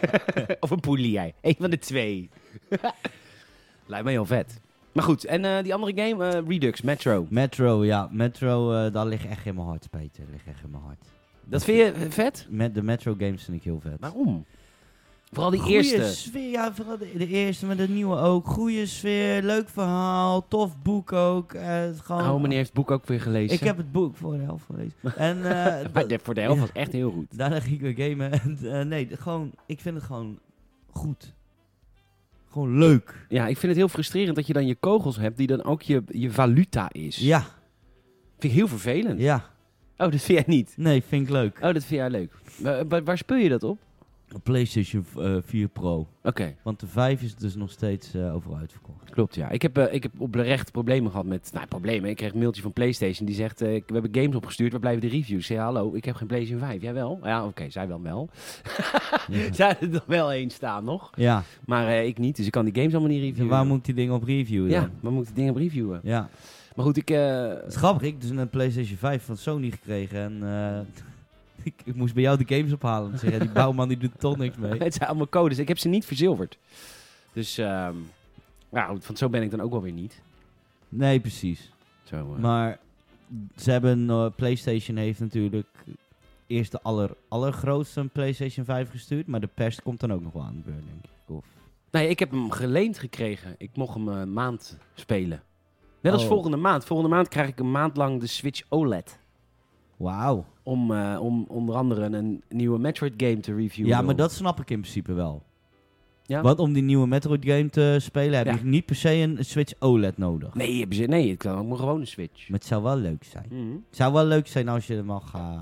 [SPEAKER 2] of een poelier. Eén van de twee. Lijkt me heel vet. Maar goed, en eh, die andere game, eh, Redux, Metro.
[SPEAKER 1] Metro, ja. Metro, eh daar ligt echt in mijn hart, Peter. Ligt echt in mijn hart.
[SPEAKER 2] Dat vind je eh, vet?
[SPEAKER 1] Met de Metro games vind ik heel vet.
[SPEAKER 2] Waarom? Vooral die
[SPEAKER 1] Goeie
[SPEAKER 2] eerste.
[SPEAKER 1] sfeer, ja, vooral de, de eerste, maar de nieuwe ook. Goeie sfeer, leuk verhaal, tof boek ook. Eh, gewoon,
[SPEAKER 2] Oh, meneer heeft het boek ook weer gelezen.
[SPEAKER 1] Ik heb het boek voor de helft gelezen. En eh,
[SPEAKER 2] Maar
[SPEAKER 1] da-
[SPEAKER 2] de- voor de helft was echt heel goed.
[SPEAKER 1] daarna ging ik weer gamen. En, eh, nee, de- gewoon, ik vind het gewoon goed. Gewoon leuk.
[SPEAKER 2] Ja, ik vind het heel frustrerend dat je dan je kogels hebt die dan ook je, je valuta is.
[SPEAKER 1] Ja,
[SPEAKER 2] Vind ik heel vervelend.
[SPEAKER 1] ja.
[SPEAKER 2] Oh, dat vind jij niet.
[SPEAKER 1] Nee, vind ik leuk.
[SPEAKER 2] Oh, dat vind jij leuk. Wa- wa- waar speel je dat op?
[SPEAKER 1] PlayStation eh, 4 Pro.
[SPEAKER 2] Oké,
[SPEAKER 1] Want de 5 is dus nog steeds eh, overal uitverkocht.
[SPEAKER 2] klopt ja. Ik heb, eh, ik heb oprecht problemen gehad met... Nou, problemen. Ik kreeg een mailtje van PlayStation die zegt... eh, we hebben games opgestuurd, waar blijven de reviews? Ik zei, hallo, ik heb geen PlayStation 5. Jij wel? Ja, oké, zij wel wel.
[SPEAKER 1] Ja.
[SPEAKER 2] Zij er dan wel één staan nog.
[SPEAKER 1] Ja,
[SPEAKER 2] Maar eh, ik niet, dus ik kan die games allemaal niet
[SPEAKER 1] en
[SPEAKER 2] reviewen.
[SPEAKER 1] waar moet ik die dingen op reviewen
[SPEAKER 2] Ja,
[SPEAKER 1] dan?
[SPEAKER 2] we moeten dingen op reviewen.
[SPEAKER 1] Ja.
[SPEAKER 2] Maar goed, ik... eh,
[SPEAKER 1] Het is grappig, ik heb dus een PlayStation 5 van Sony gekregen en eh, ik, ik moest bij jou de games ophalen. Ik zeg, ja, die bouwman die doet toch niks mee.
[SPEAKER 2] het zijn allemaal codes. Ik heb ze niet verzilverd. Dus, ehm ja, goed, want zo ben ik dan ook wel weer niet.
[SPEAKER 1] Nee, precies.
[SPEAKER 2] Zo, eh,
[SPEAKER 1] Maar ze hebben, eh, PlayStation heeft natuurlijk eerst de aller, allergrootste een PlayStation 5 gestuurd, maar de pers komt dan ook nog wel aan de beurt, denk ik. Of,
[SPEAKER 2] Nee, ik heb hem geleend gekregen. Ik mocht hem eh, een maand spelen. Net als
[SPEAKER 1] Oh.
[SPEAKER 2] volgende maand. Volgende maand krijg ik een maand lang de Switch OLED.
[SPEAKER 1] wauw.
[SPEAKER 2] Om, eh, om onder andere een nieuwe Metroid game te reviewen.
[SPEAKER 1] Ja, maar dat snap ik in principe wel.
[SPEAKER 2] Ja?
[SPEAKER 1] Want om die nieuwe Metroid game te spelen heb
[SPEAKER 2] Ja.
[SPEAKER 1] je niet per se een Switch OLED nodig.
[SPEAKER 2] Nee, hebben ze- nee, het kan ook maar gewoon een Switch.
[SPEAKER 1] Maar het zou wel leuk zijn.
[SPEAKER 2] Mhm.
[SPEAKER 1] Het zou wel leuk zijn als je er mag gaan.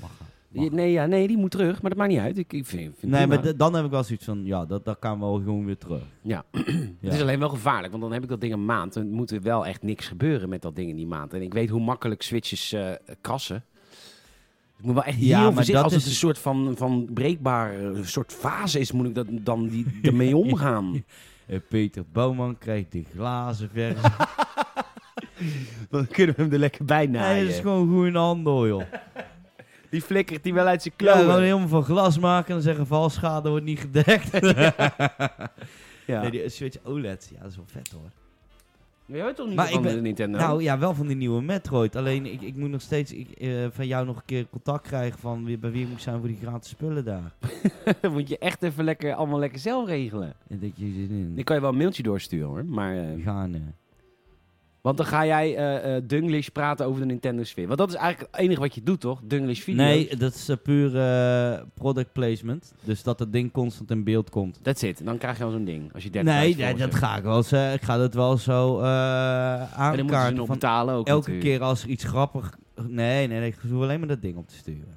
[SPEAKER 1] mag gaan- mag
[SPEAKER 2] Je- nee, ja, nee, die moet terug, maar dat maakt niet uit. Ik, ik vind, ik vind
[SPEAKER 1] Nee,
[SPEAKER 2] prima.
[SPEAKER 1] maar d- dan heb ik wel zoiets van, ja, dat, dat kan wel gewoon weer terug.
[SPEAKER 2] Ja.
[SPEAKER 1] Ja.
[SPEAKER 2] Het is alleen wel gevaarlijk, want dan heb ik dat ding een maand. Dan moet er wel echt niks gebeuren met dat ding in die maand. En ik weet hoe makkelijk switches eh, krassen. Ik moet wel echt heel
[SPEAKER 1] Ja, maar
[SPEAKER 2] voorzichtig...
[SPEAKER 1] dat
[SPEAKER 2] Als het
[SPEAKER 1] is-
[SPEAKER 2] een soort van, van breekbare soort fase is, moet ik dat, dan die, ermee omgaan.
[SPEAKER 1] Eh, Peter Bouwman krijgt de glazen versie.
[SPEAKER 2] Dan kunnen we hem er lekker bij
[SPEAKER 1] nee, dat is gewoon goed in de handel, joh.
[SPEAKER 2] Die flikkert die wel uit zijn
[SPEAKER 1] Ja,
[SPEAKER 2] klauwen.
[SPEAKER 1] gewoon helemaal van glas maken en zeggen valschade wordt niet gedekt.
[SPEAKER 2] Ja.
[SPEAKER 1] Nee, die Switch OLED, ja, dat is wel vet hoor.
[SPEAKER 2] Jij weet toch niet
[SPEAKER 1] Maar
[SPEAKER 2] van
[SPEAKER 1] ik ben-
[SPEAKER 2] de Nintendo?
[SPEAKER 1] Nou ja, wel van die nieuwe Metroid. Alleen ik, ik moet nog steeds ik, eh, van jou nog een keer contact krijgen van wie, bij wie moet ik zijn voor die gratis spullen daar.
[SPEAKER 2] dat moet je echt even lekker, allemaal lekker zelf regelen.
[SPEAKER 1] En dat je zin in.
[SPEAKER 2] Ik kan je wel een mailtje doorsturen hoor, maar... eh,
[SPEAKER 1] Gaan, eh.
[SPEAKER 2] Want dan ga jij eh eh Dunglish praten over de Nintendo Sphere. Want dat is eigenlijk het enige wat je doet, toch? Dunglish video.
[SPEAKER 1] Nee, dat is eh, puur eh, product placement. Dus dat dat ding constant in beeld komt.
[SPEAKER 2] That's it. En dan krijg je al zo'n ding. Als je 30
[SPEAKER 1] Nee, nee, dat ga ik wel eens, eh, Ik ga dat wel zo eh
[SPEAKER 2] En dan moeten ze
[SPEAKER 1] aankaarten.
[SPEAKER 2] nog
[SPEAKER 1] van
[SPEAKER 2] betalen ook
[SPEAKER 1] elke
[SPEAKER 2] natuurlijk.
[SPEAKER 1] keer als er iets grappig... Nee, nee, nee. Ik hoef alleen maar dat ding op te sturen.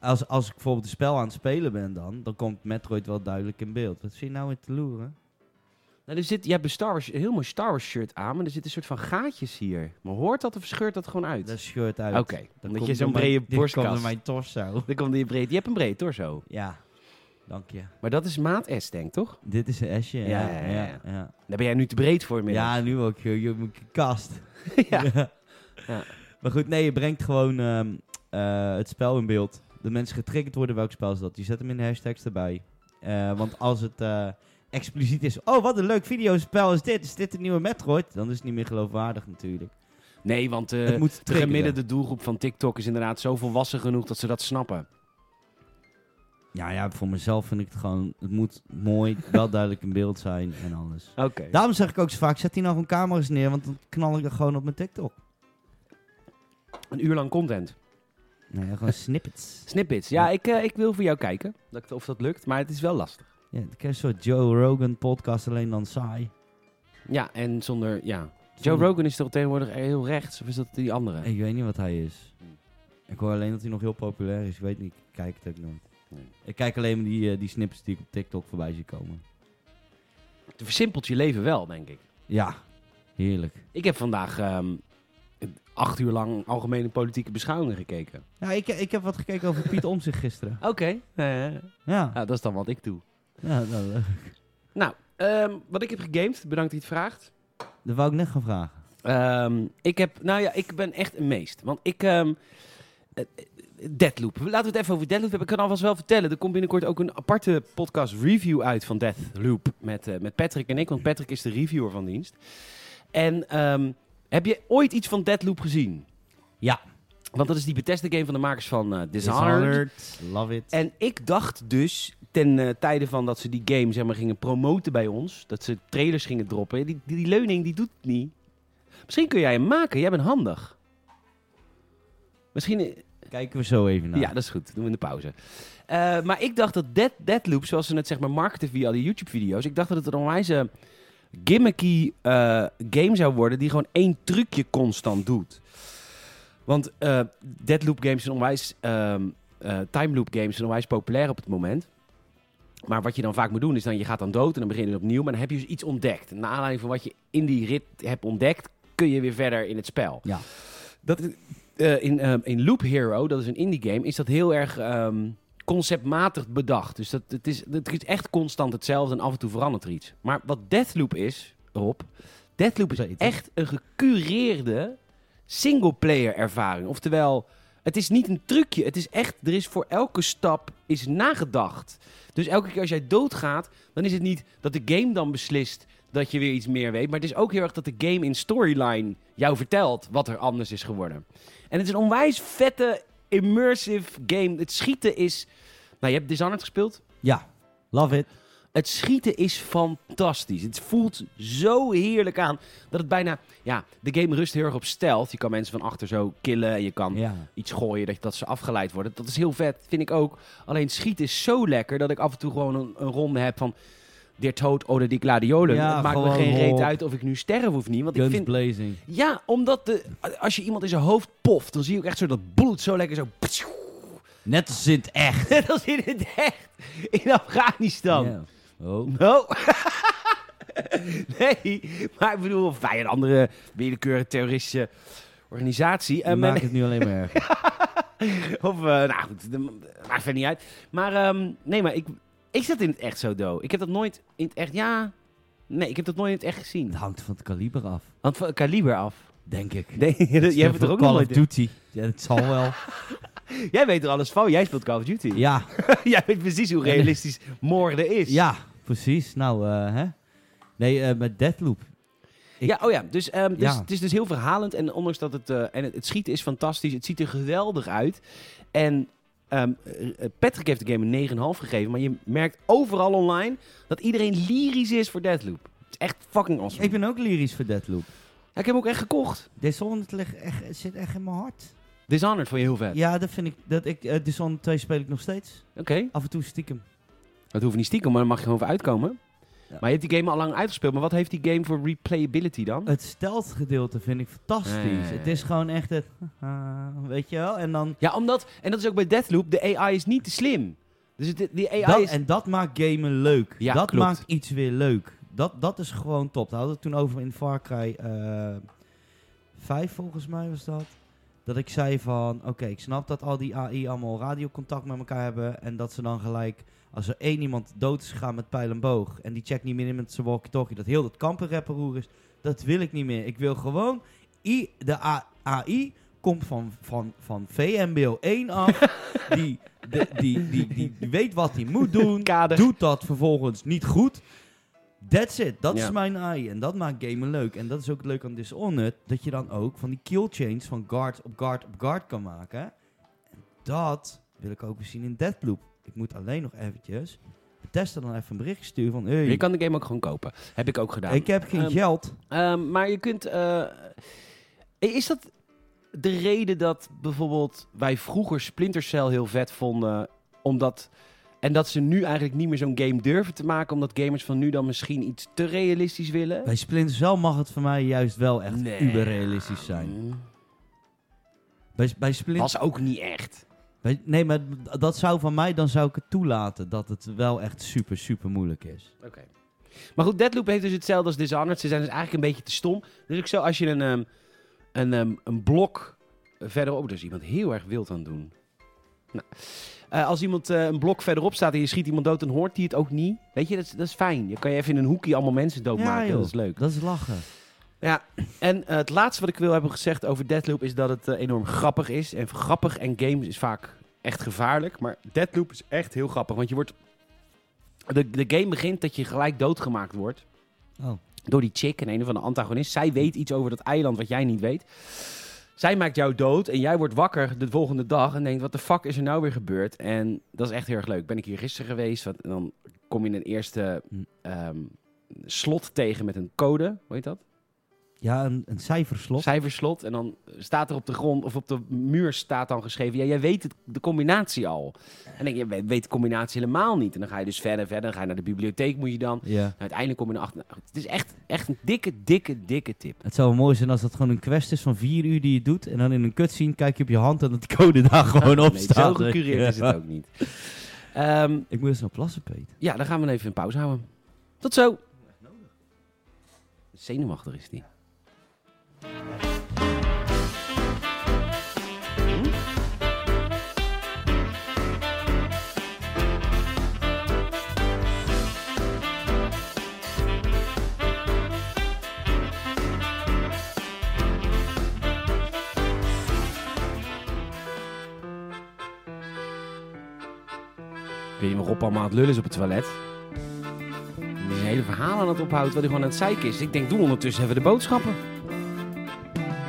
[SPEAKER 1] Als, als ik bijvoorbeeld een spel aan het spelen ben dan... dan komt Metroid wel duidelijk in beeld. Wat zie je nou in te loeren?
[SPEAKER 2] Nou, er zit, je hebt een, Star Wars, een heel mooi Star Wars shirt aan, maar er zitten een soort van gaatjes hier. Maar hoort dat of scheurt dat gewoon uit?
[SPEAKER 1] Dat scheurt uit.
[SPEAKER 2] Oké,
[SPEAKER 1] Dan
[SPEAKER 2] omdat
[SPEAKER 1] komt
[SPEAKER 2] je zo'n
[SPEAKER 1] er mijn-
[SPEAKER 2] brede
[SPEAKER 1] dit komt
[SPEAKER 2] borstkast...
[SPEAKER 1] er mijn torso.
[SPEAKER 2] Dan komt die breed... Je hebt een breed torso.
[SPEAKER 1] Ja, dank je.
[SPEAKER 2] Maar dat is maat S, denk ik, toch?
[SPEAKER 1] Dit is een S'je.
[SPEAKER 2] Ja, ja,
[SPEAKER 1] ja,
[SPEAKER 2] ja,
[SPEAKER 1] ja. ja.
[SPEAKER 2] Daar ben jij nu te breed voor, inmiddels.
[SPEAKER 1] Ja, nu ook. Je, je moet je kast.
[SPEAKER 2] Ja. Ja.
[SPEAKER 1] Maar goed, nee, je brengt gewoon ehm, eh, het spel in beeld. De mensen getriggerd worden, welk spel is dat? Je zet hem in de hashtags erbij. Eh, want als het eh, expliciet is, oh wat een leuk videospel is dit, is dit de nieuwe Metroid? Dan is het niet meer geloofwaardig natuurlijk.
[SPEAKER 2] Nee, want eh,
[SPEAKER 1] het moet
[SPEAKER 2] de
[SPEAKER 1] triggeren.
[SPEAKER 2] gemiddelde doelgroep van TikTok is inderdaad zo volwassen genoeg dat ze dat snappen.
[SPEAKER 1] Ja, ja, voor mezelf vind ik het gewoon, het moet mooi, wel duidelijk in beeld zijn en alles.
[SPEAKER 2] Oké.
[SPEAKER 1] Daarom zeg ik ook zo vaak, zet die nou gewoon camera's neer, want dan knal ik er gewoon op mijn TikTok.
[SPEAKER 2] Een uur lang content.
[SPEAKER 1] Nee, gewoon snippets.
[SPEAKER 2] Snippets. Ja, ik, eh, ik wil voor jou kijken dat ik- of dat lukt, maar het is wel lastig.
[SPEAKER 1] Ja, het is een soort Joe Rogan podcast, alleen dan saai.
[SPEAKER 2] Ja, en zonder, ja. Joe Rogan is toch tegenwoordig heel rechts, of is dat die andere?
[SPEAKER 1] Ik weet niet wat hij is.
[SPEAKER 2] Hm.
[SPEAKER 1] Ik hoor alleen dat hij nog heel populair is. Ik weet niet, ik kijk het ook nooit.
[SPEAKER 2] Nee.
[SPEAKER 1] Ik kijk alleen maar die, eh, die snippets die ik op TikTok voorbij zie komen.
[SPEAKER 2] Het versimpelt je leven wel, denk ik.
[SPEAKER 1] Ja, heerlijk.
[SPEAKER 2] Ik heb vandaag ehm, acht uur lang algemene politieke beschouwingen gekeken.
[SPEAKER 1] Ja, ik, ik heb wat gekeken over Piet Omzicht gisteren.
[SPEAKER 2] Oké.
[SPEAKER 1] Ja,
[SPEAKER 2] nou, dat is dan wat ik doe.
[SPEAKER 1] ja nou, eh,
[SPEAKER 2] Nou, ehm, wat ik heb gegamed, bedankt dat je het vraagt.
[SPEAKER 1] dat wou ik net gaan vragen.
[SPEAKER 2] Ehm, ik heb, nou ja, ik ben echt een meest. Want ik, ehm, eh, eh, Deathloop. Laten we het even over Deathloop hebben. Ik kan alvast wel vertellen, er komt binnenkort ook een aparte podcast review uit van Deathloop. Met, eh, met Patrick en ik, want Patrick is de reviewer van dienst. En ehm, heb je ooit iets van Deathloop gezien?
[SPEAKER 1] Ja.
[SPEAKER 2] Want dat is die Bethesda game van de makers van eh Dishonored.
[SPEAKER 1] Dishonored, Love it.
[SPEAKER 2] En ik dacht dus, ten eh, tijde van dat ze die game zeg maar, gingen promoten bij ons, dat ze trailers gingen droppen, die, die, die leuning die doet het niet. Misschien kun jij hem maken, jij bent handig. Misschien, eh,
[SPEAKER 1] Kijken we zo even naar.
[SPEAKER 2] Ja, dat is goed. Dat doen we in de pauze. Eh, maar ik dacht dat Dead, Deadloop, zoals ze het zeg maar marketen via die YouTube-video's, ik dacht dat het een onwijze gimmicky eh, game zou worden die gewoon één trucje constant doet. Want eh, Deadloop games zijn onwijs, ehm eh, timeloop games zijn onwijs populair op het moment. Maar wat je dan vaak moet doen is dan je gaat dan dood en dan begin je opnieuw, maar dan heb je dus iets ontdekt. Na aanleiding van wat je in die rit hebt ontdekt, kun je weer verder in het spel.
[SPEAKER 1] Ja.
[SPEAKER 2] Dat is- eh, in, ehm, in Loop Hero, dat is een indie game, is dat heel erg ehm, conceptmatig bedacht. Dus dat, het, is, het is echt constant hetzelfde en af en toe verandert er iets. Maar wat Deathloop is, Rob, Deathloop is
[SPEAKER 1] Beter.
[SPEAKER 2] echt een gecureerde singleplayer ervaring. Oftewel, het is niet een trucje. Het is echt, er is voor elke stap is nagedacht. Dus elke keer als jij doodgaat, dan is het niet dat de game dan beslist dat je weer iets meer weet. Maar het is ook heel erg dat de game in storyline jou vertelt wat er anders is geworden. En het is een onwijs vette, immersive game. Het schieten is... Nou, je hebt Dishonored gespeeld.
[SPEAKER 1] Ja, love it.
[SPEAKER 2] Het schieten is fantastisch. Het voelt zo heerlijk aan dat het bijna... Ja, de game rust heel erg op stealth. Je kan mensen van achter zo killen en je kan
[SPEAKER 1] Ja.
[SPEAKER 2] iets gooien, dat, dat ze afgeleid worden. Dat is heel vet, vind ik ook. Alleen schieten is zo lekker dat ik af en toe gewoon een, een ronde heb van... Dit dood, oder die gladiolen.
[SPEAKER 1] Ja,
[SPEAKER 2] het maakt me
[SPEAKER 1] gewoon
[SPEAKER 2] geen
[SPEAKER 1] hop.
[SPEAKER 2] reet uit of ik nu sterf of niet. Want ik
[SPEAKER 1] Guns
[SPEAKER 2] vind...
[SPEAKER 1] blazing.
[SPEAKER 2] Ja, omdat de, als je iemand in zijn hoofd poft, dan zie je ook echt zo dat bloed zo lekker zo...
[SPEAKER 1] Net als in het echt.
[SPEAKER 2] Dan zit het echt in Afghanistan.
[SPEAKER 1] Ja. Oh.
[SPEAKER 2] No. nee, maar ik bedoel, of wij een andere willekeurige terroristische organisatie.
[SPEAKER 1] Je
[SPEAKER 2] eh, maar-
[SPEAKER 1] maakt het nu alleen maar erger.
[SPEAKER 2] Of, eh, nou goed, de- maakt verder niet uit. Maar ehm, nee, maar ik, ik zat in het echt zo, Do. Ik heb dat nooit in het echt, ja... Nee, ik heb dat nooit in het echt gezien.
[SPEAKER 1] Het hangt van het kaliber af,
[SPEAKER 2] Want van het kaliber af.
[SPEAKER 1] denk ik.
[SPEAKER 2] Nee, jij, hebt het er ook
[SPEAKER 1] Call
[SPEAKER 2] nog
[SPEAKER 1] of
[SPEAKER 2] nooit in.
[SPEAKER 1] Duty. Ja, het zal wel.
[SPEAKER 2] jij weet er alles van. Jij speelt Call of Duty.
[SPEAKER 1] Ja,
[SPEAKER 2] jij weet precies hoe realistisch moorden is.
[SPEAKER 1] ja precies. Nou, eh, hè? Nee, eh, met Deadloop. Ik-
[SPEAKER 2] Ja, oh ja. Dus, ehm, dus
[SPEAKER 1] Ja.
[SPEAKER 2] het is dus heel verhalend. En ondanks dat het... eh, en het, het schieten is fantastisch. Het ziet er geweldig uit. En ehm, eh, Patrick heeft de game een 9,5 gegeven. Maar je merkt overal online dat iedereen lyrisch is voor Deathloop. Het is echt fucking awesome.
[SPEAKER 1] Ik ben ook lyrisch voor Deadloop.
[SPEAKER 2] Ja, ik heb hem ook echt gekocht.
[SPEAKER 1] Dishonored ligt echt, zit echt in mijn hart.
[SPEAKER 2] Dishonored vond je heel vet.
[SPEAKER 1] Ja, dat vind ik. Dat ik eh, Dishonored 2 speel ik nog steeds.
[SPEAKER 2] Oké.
[SPEAKER 1] Af en toe stiekem.
[SPEAKER 2] Dat hoeft niet stiekem, maar dan mag je gewoon voor uitkomen.
[SPEAKER 1] Ja.
[SPEAKER 2] Maar je hebt die game al lang uitgespeeld. Maar wat heeft die game voor replayability dan?
[SPEAKER 1] Het steltgedeelte vind ik fantastisch.
[SPEAKER 2] Ja, ja, ja, ja.
[SPEAKER 1] Het is gewoon echt het... haha, weet je wel? En dan...
[SPEAKER 2] Ja, omdat... En dat is ook bij Deathloop. De AI is niet te slim. Dus het, die AI
[SPEAKER 1] dat,
[SPEAKER 2] is...
[SPEAKER 1] En dat maakt gamen leuk.
[SPEAKER 2] Ja,
[SPEAKER 1] dat
[SPEAKER 2] klopt.
[SPEAKER 1] maakt iets weer leuk. Dat, dat is gewoon top. Daar hadden we het toen over in Far Cry eh 5 volgens mij was dat. Dat ik zei van, oké, ik snap dat al die AI allemaal radiocontact met elkaar hebben. En dat ze dan gelijk, als er één iemand dood is gegaan met pijl en boog. En die checkt niet meer in met zijn walkie-talkie. Dat heel dat kampenrapperroer is. Dat wil ik niet meer. Ik wil gewoon, I, de A- AI komt van, van, van VMBO 1 af. die, de- die, die, die, die weet wat hij moet doen.
[SPEAKER 2] Kader.
[SPEAKER 1] Doet dat vervolgens niet goed. That's it. Dat
[SPEAKER 2] Ja.
[SPEAKER 1] is mijn AI. En dat maakt gamen leuk. En dat is ook leuk aan Dishonored. Dat je dan ook van die kill chains van guard op guard op guard kan maken. En dat wil ik ook weer zien in Deathloop. Ik moet alleen nog eventjes testen dan even een bericht sturen van... Hey,
[SPEAKER 2] Je kan de game ook gewoon kopen. Heb ik ook gedaan.
[SPEAKER 1] ik heb geen
[SPEAKER 2] Ehm,
[SPEAKER 1] geld.
[SPEAKER 2] Ehm, maar je kunt. eh, is dat de reden dat bijvoorbeeld wij vroeger Splinter Cell heel vet vonden? Omdat. En dat ze nu eigenlijk niet meer zo'n game durven te maken, omdat gamers van nu dan misschien iets te realistisch willen?
[SPEAKER 1] Bij Splinter Cell mag het voor mij juist wel echt
[SPEAKER 2] Nee. Mm.
[SPEAKER 1] uberrealistisch zijn. Bij, bij Splinter
[SPEAKER 2] Was ook niet echt.
[SPEAKER 1] Weet- Nee, maar d- dat zou van mij, dan zou ik het toelaten dat het wel echt super, super moeilijk is.
[SPEAKER 2] Oké. Maar goed, Deadloop heeft dus hetzelfde als Dishonored. Ze zijn dus eigenlijk een beetje te stom. Dus ik zou als je een, ehm, een, ehm, een blok verderop... Oh, daar is iemand heel erg wild aan het doen. Nou. Eh, als iemand eh, een blok verderop staat en je schiet iemand dood, dan hoort hij het ook niet. Weet je, dat is, dat is fijn. Je kan je even in een hoekje allemaal mensen doodmaken.
[SPEAKER 1] joh.
[SPEAKER 2] dat is leuk.
[SPEAKER 1] Dat is lachen.
[SPEAKER 2] Ja, en eh, het laatste wat ik wil hebben gezegd over Deadloop is dat het eh, enorm grappig is. En grappig en games is vaak echt gevaarlijk. Maar Deadloop is echt heel grappig, want je wordt... De, de game begint dat je gelijk doodgemaakt wordt
[SPEAKER 1] Oh.
[SPEAKER 2] door die chick en een van de antagonist. Zij weet iets over dat eiland wat jij niet weet. Zij maakt jou dood en jij wordt wakker de volgende dag en denkt: wat de fuck is er nou weer gebeurd? En dat is echt heel erg leuk. Ben ik hier gisteren geweest? Wat, en dan kom je een eerste
[SPEAKER 1] Hm.
[SPEAKER 2] ehm, slot tegen met een code. Hoe heet dat?
[SPEAKER 1] Ja, een, een cijferslot.
[SPEAKER 2] Cijferslot. En dan staat er op de grond of op de muur staat dan geschreven. Ja, jij weet het, de combinatie al. En dan denk je, je weet de combinatie helemaal niet. En dan ga je dus verder, verder. Dan ga je naar de bibliotheek moet je dan.
[SPEAKER 1] ja.
[SPEAKER 2] En uiteindelijk kom je erachter. Nou, het is echt, echt een dikke, dikke, dikke tip.
[SPEAKER 1] Het zou wel mooi zijn als dat gewoon een quest is van vier uur die je doet. En dan in een cutscene kijk je op je hand en dat die code daar gewoon op
[SPEAKER 2] nee,
[SPEAKER 1] staat.
[SPEAKER 2] Zo gecureerd is
[SPEAKER 1] Ja.
[SPEAKER 2] het ook niet. Ehm,
[SPEAKER 1] Ik moet eens naar plassen, Peet.
[SPEAKER 2] ja, dan gaan we even een pauze houden. Tot zo. Zenuwachtig is die. Ik weet niet waar Rob allemaal aan het lullen is op het toilet. Die is een hele verhaal aan het ophoudt wat hij gewoon aan het zeiken is. Ik denk, doe ondertussen even de boodschappen.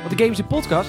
[SPEAKER 2] Want de Games in Podcast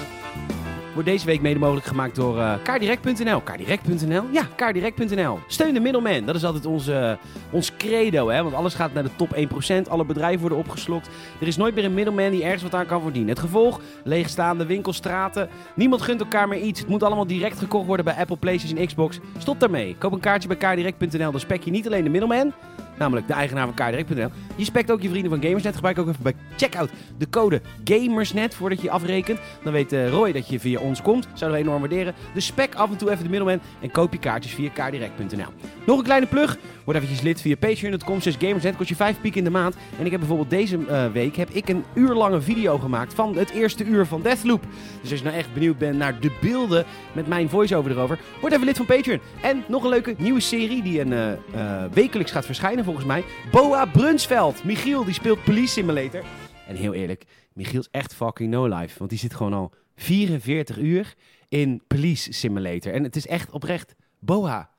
[SPEAKER 2] wordt deze week mede mogelijk gemaakt door eh, kaardirect.nl. Kaardirect.nl? Ja, kaardirect.nl. Steun de middelman. Dat is altijd onze, eh, ons credo, hè. Want alles gaat naar de top 1%. Alle bedrijven worden opgeslokt. Er is nooit meer een middelman die ergens wat aan kan verdienen. Het gevolg? Leegstaande winkels, straten. Niemand gunt elkaar meer iets. Het moet allemaal direct gekocht worden bij Apple, PlayStation en Xbox. Stop daarmee. Koop een kaartje bij kaardirect.nl. Dan spek je niet alleen de middelman, namelijk de eigenaar van kaardirect.nl. Je spekt ook je vrienden van Gamersnet. Gebruik ook even bij checkout de code GAMERSNET voordat je je afrekent. Dan weet eh, Roy dat je via ons komt. Zouden we enorm waarderen. Dus spek af en toe even de middelman en koop je kaartjes via kaardirect.nl. Nog een kleine plug. Word eventjes lid via patreon.com. slash Gamersnet kost je 5 piek in de maand. En ik heb bijvoorbeeld deze eh, week heb ik een uurlange video gemaakt van het eerste uur van Deathloop. Dus als je nou echt benieuwd bent naar de beelden met mijn voice-over erover, word even lid van Patreon. En nog een leuke nieuwe serie die een, eh, eh, wekelijks gaat verschijnen volgens mij. Boa Brunsveld. Michiel die speelt Police Simulator. En heel eerlijk, Michiel is echt fucking no life. Want die zit gewoon al 44 uur in Police Simulator. En het is echt oprecht Boa,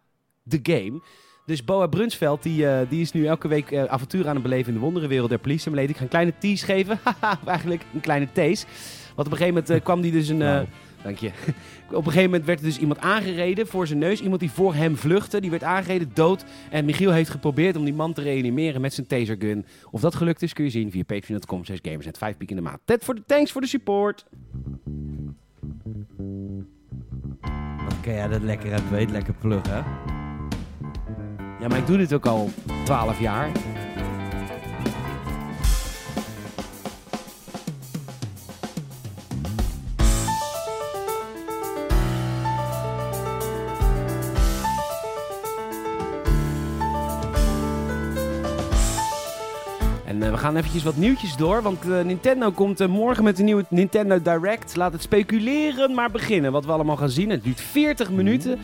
[SPEAKER 2] de game. Dus Boa Brunsveld, die, eh, die is nu elke week eh, avontuur aan het beleven in de wonderenwereld der Police Simulator. Ik ga een kleine tease geven. Haha, of eigenlijk een kleine tease. Want op een gegeven moment eh, kwam die dus een... eh,
[SPEAKER 1] Wauw.
[SPEAKER 2] Dank je. Op een gegeven moment werd er dus iemand aangereden voor zijn neus. Iemand die voor hem vluchtte. Die werd aangereden, dood. En Michiel heeft geprobeerd om die man te reanimeren met zijn tasergun. Of dat gelukt is, kun je zien via patreon.com. 6 gamers net 5 piek in de maand. Ted voor de thanks voor de support.
[SPEAKER 1] Oké, ja, dat lekker uit, weet. Lekker plug, hè?
[SPEAKER 2] Ja, maar ik doe dit ook al 12 jaar. En eh, we gaan eventjes wat nieuwtjes door, want eh, Nintendo komt eh, morgen met een nieuwe Nintendo Direct. Laat het speculeren maar beginnen, wat we allemaal gaan zien. Het duurt 40 minuten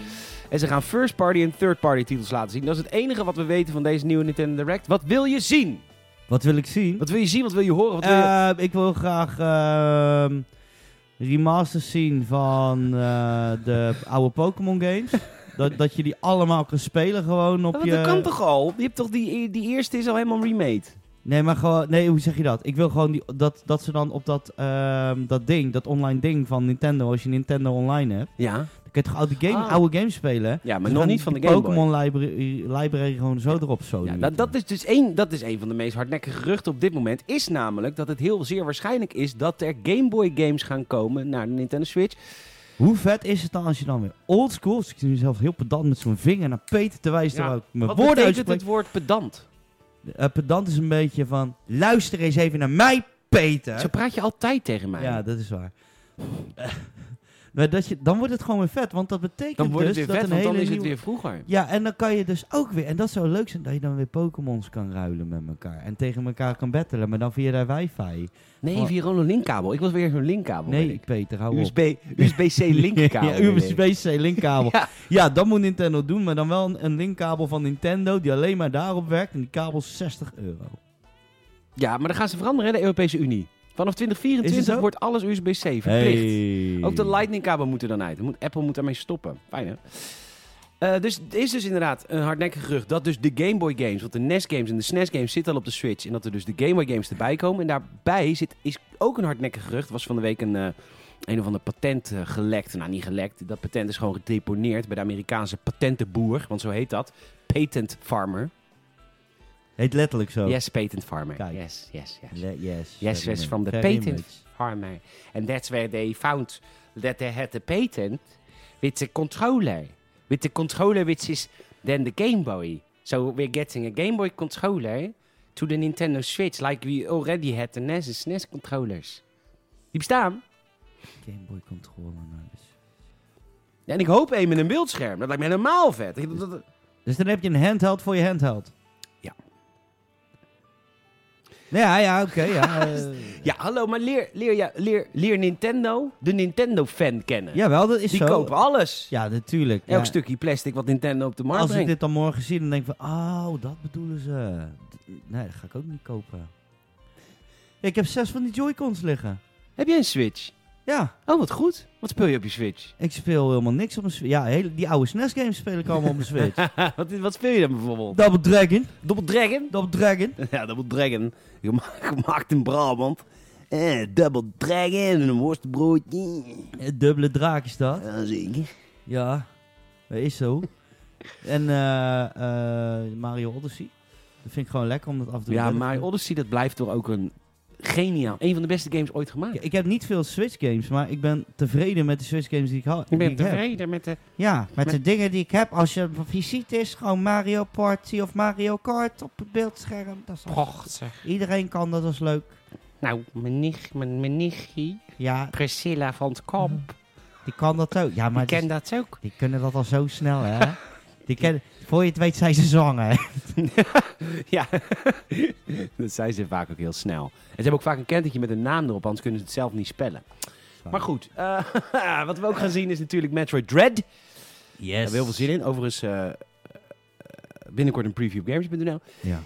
[SPEAKER 2] en ze gaan first party en third party titels laten zien. Dat is het enige wat we weten van deze nieuwe Nintendo Direct. Wat wil je zien?
[SPEAKER 1] Wat wil ik zien?
[SPEAKER 2] Wat wil je zien? Wat wil je horen? Wat wil je...
[SPEAKER 1] Eh, ik wil graag ehm remasters zien van eh, de oude Pokémon games. dat, dat je die allemaal kan spelen gewoon op
[SPEAKER 2] Want
[SPEAKER 1] je...
[SPEAKER 2] dat kan toch al? Je hebt toch die, die eerste is al helemaal remade.
[SPEAKER 1] Nee, maar gewoon... Nee, hoe zeg je dat? Ik wil gewoon die, dat, dat ze dan op dat, ehm, dat ding, dat online ding van Nintendo, als je Nintendo online hebt,
[SPEAKER 2] Ja,
[SPEAKER 1] dan kun je toch oude, game,
[SPEAKER 2] Ah.
[SPEAKER 1] oude games spelen?
[SPEAKER 2] ja maar
[SPEAKER 1] Ze
[SPEAKER 2] nog
[SPEAKER 1] gaan
[SPEAKER 2] niet van de
[SPEAKER 1] die
[SPEAKER 2] Game Boy.
[SPEAKER 1] Pokémon library, library gewoon zo erop zo.
[SPEAKER 2] Ja, dat, dat is dus één, dat is één van de meest hardnekkige geruchten op dit moment. Is namelijk dat het heel zeer waarschijnlijk is dat er Game Boy games gaan komen naar de Nintendo Switch.
[SPEAKER 1] Hoe vet is het dan als je dan weer oldschool... Dus ik zie mezelf heel pedant met zo'n vinger naar Peter te wijzen...
[SPEAKER 2] Ja,
[SPEAKER 1] terwijl ik mijn
[SPEAKER 2] Wat
[SPEAKER 1] woorden
[SPEAKER 2] betekent
[SPEAKER 1] uitspreek.
[SPEAKER 2] het woord pedant?
[SPEAKER 1] Eh, pedant is een beetje van... Luister eens even naar mij, Peter!
[SPEAKER 2] Zo praat je altijd tegen mij.
[SPEAKER 1] Ja, dat is waar. Eh, maar dat je, dan wordt het gewoon weer vet, want dat betekent
[SPEAKER 2] dan wordt het
[SPEAKER 1] dus
[SPEAKER 2] weer vet,
[SPEAKER 1] dat
[SPEAKER 2] want
[SPEAKER 1] een
[SPEAKER 2] dan
[SPEAKER 1] hele
[SPEAKER 2] is het
[SPEAKER 1] nieuwe-
[SPEAKER 2] weer vroeger.
[SPEAKER 1] Ja, en dan kan je dus ook weer... En dat zou leuk zijn, dat je dan weer Pokémons kan ruilen met elkaar. En tegen elkaar kan battelen, maar dan via de wifi.
[SPEAKER 2] Nee,
[SPEAKER 1] Oh.
[SPEAKER 2] via gewoon een linkkabel. Ik was weer zo'n linkkabel. weet
[SPEAKER 1] Nee,
[SPEAKER 2] ik.
[SPEAKER 1] Peter, hou op.
[SPEAKER 2] USB, USB-C linkkabel.
[SPEAKER 1] ja,
[SPEAKER 2] weet ik.
[SPEAKER 1] USB-C linkkabel.
[SPEAKER 2] Ja.
[SPEAKER 1] ja. dat moet Nintendo doen, maar dan wel een, een linkkabel van Nintendo die alleen maar daarop werkt. En die kabel is 60 euro.
[SPEAKER 2] Ja, maar dan gaan ze veranderen, hè, de Europese Unie. Vanaf
[SPEAKER 1] Is het
[SPEAKER 2] 2024
[SPEAKER 1] zo?
[SPEAKER 2] wordt alles USB-C verplicht. Ook de Lightning-kabel moet er dan uit. Dan moet- Apple moet daarmee stoppen. Fijn, hè? Eh, dus het is dus inderdaad een hardnekkig gerucht dat dus de Game Boy games, want de NES games en de SNES games zitten al op de Switch. En dat er dus de Game Boy games erbij komen. En daarbij zit, is ook een hardnekkig gerucht. was van de week een, eh, een of ander patent eh, gelekt. Nou, niet gelekt. Dat patent is gewoon gedeponeerd bij de Amerikaanse patentenboer. Want zo heet dat. Patent farmer.
[SPEAKER 1] Heet letterlijk zo.
[SPEAKER 2] Yes, patent farmer.
[SPEAKER 1] Kijk.
[SPEAKER 2] Yes, yes, yes.
[SPEAKER 1] Le- yes.
[SPEAKER 2] Yes,
[SPEAKER 1] very
[SPEAKER 2] yes,
[SPEAKER 1] much.
[SPEAKER 2] from the
[SPEAKER 1] Very
[SPEAKER 2] patent
[SPEAKER 1] much.
[SPEAKER 2] farmer. And that's where they found that they had the patent with the controller. With the controller which is then the Game Boy. So we're getting a Game Boy controller to the Nintendo Switch. Like we already had the E NES en SNES controllers. Die bestaan.
[SPEAKER 1] Game Boy controller. nou, dus.
[SPEAKER 2] Ja, en ik hoop één met een beeldscherm. Dat lijkt me helemaal vet. Ik- dat- dat-
[SPEAKER 1] Dus dan heb je een handheld voor je handheld.
[SPEAKER 2] Ja.
[SPEAKER 1] Nee, Ja, ja, oké. ja, eh.
[SPEAKER 2] Ja, hallo, maar leer, leer, ja, leer, leer Nintendo, de Nintendo-fan kennen.
[SPEAKER 1] Jawel, dat is
[SPEAKER 2] Die
[SPEAKER 1] zo.
[SPEAKER 2] kopen alles.
[SPEAKER 1] Ja, natuurlijk.
[SPEAKER 2] Elk
[SPEAKER 1] Ja.
[SPEAKER 2] stukje plastic wat Nintendo op de markt
[SPEAKER 1] Als ik
[SPEAKER 2] brengt.
[SPEAKER 1] dit dan morgen zie, dan denk ik van, oh, dat bedoelen ze. D- Nee, dat ga ik ook niet kopen. Ik heb zes van die Joy-Cons liggen.
[SPEAKER 2] Heb jij een Switch?
[SPEAKER 1] Ja,
[SPEAKER 2] Oh, wat goed. Wat speel je op je Switch?
[SPEAKER 1] ik speel helemaal niks op mijn Switch. Ja, hele, die oude SNES-games speel ik allemaal op mijn Switch.
[SPEAKER 2] wat, wat speel je dan bijvoorbeeld?
[SPEAKER 1] Double Dragon,
[SPEAKER 2] Double Dragon?
[SPEAKER 1] Double Dragon.
[SPEAKER 2] Ja, Double Dragon. Gema- Gemaakt in Brabant. Eh, Double Dragon en een worstbroodje.
[SPEAKER 1] Eh, Dubbele draak is dat.
[SPEAKER 2] Ja, zeker.
[SPEAKER 1] Ja, dat is zo. en eh, eh, Mario Odyssey. Dat vind ik gewoon lekker om dat af te doen.
[SPEAKER 2] Ja, maar Odyssey, dat blijft toch ook een geniaal... Een van de beste games ooit gemaakt.
[SPEAKER 1] Ik heb niet veel Switch-games, maar ik ben tevreden met de Switch-games die ik hou.
[SPEAKER 2] Ik
[SPEAKER 1] die
[SPEAKER 2] ben
[SPEAKER 1] heb.
[SPEAKER 2] tevreden met de...
[SPEAKER 1] Ja, met,
[SPEAKER 2] Met-
[SPEAKER 1] de dingen die ik heb. Als je op visite is, gewoon Mario Party of Mario Kart op het beeldscherm. Dat is alles.
[SPEAKER 2] Och, zeg.
[SPEAKER 1] Iedereen kan dat, dat is leuk.
[SPEAKER 2] Nou, mijn, nicht, mijn, mijn nichtje,
[SPEAKER 1] Ja,
[SPEAKER 2] Priscilla van het Kamp,
[SPEAKER 1] die kan dat ook. Ja,
[SPEAKER 2] die
[SPEAKER 1] maar die,
[SPEAKER 2] kent dat ook.
[SPEAKER 1] die kunnen dat al zo snel, hè? Die ken, voor je het weet zijn ze zwanger.
[SPEAKER 2] Ja, dat zijn ze vaak ook heel snel. En ze hebben ook vaak een kentetje met een naam erop, anders kunnen ze het zelf niet spellen. Maar goed, eh, wat we ook gaan zien is natuurlijk Metroid Dread. Daar
[SPEAKER 1] Yes.
[SPEAKER 2] hebben we heel veel zin in. Overigens, eh, eh, binnenkort een preview op gamers.nl.
[SPEAKER 1] Ja.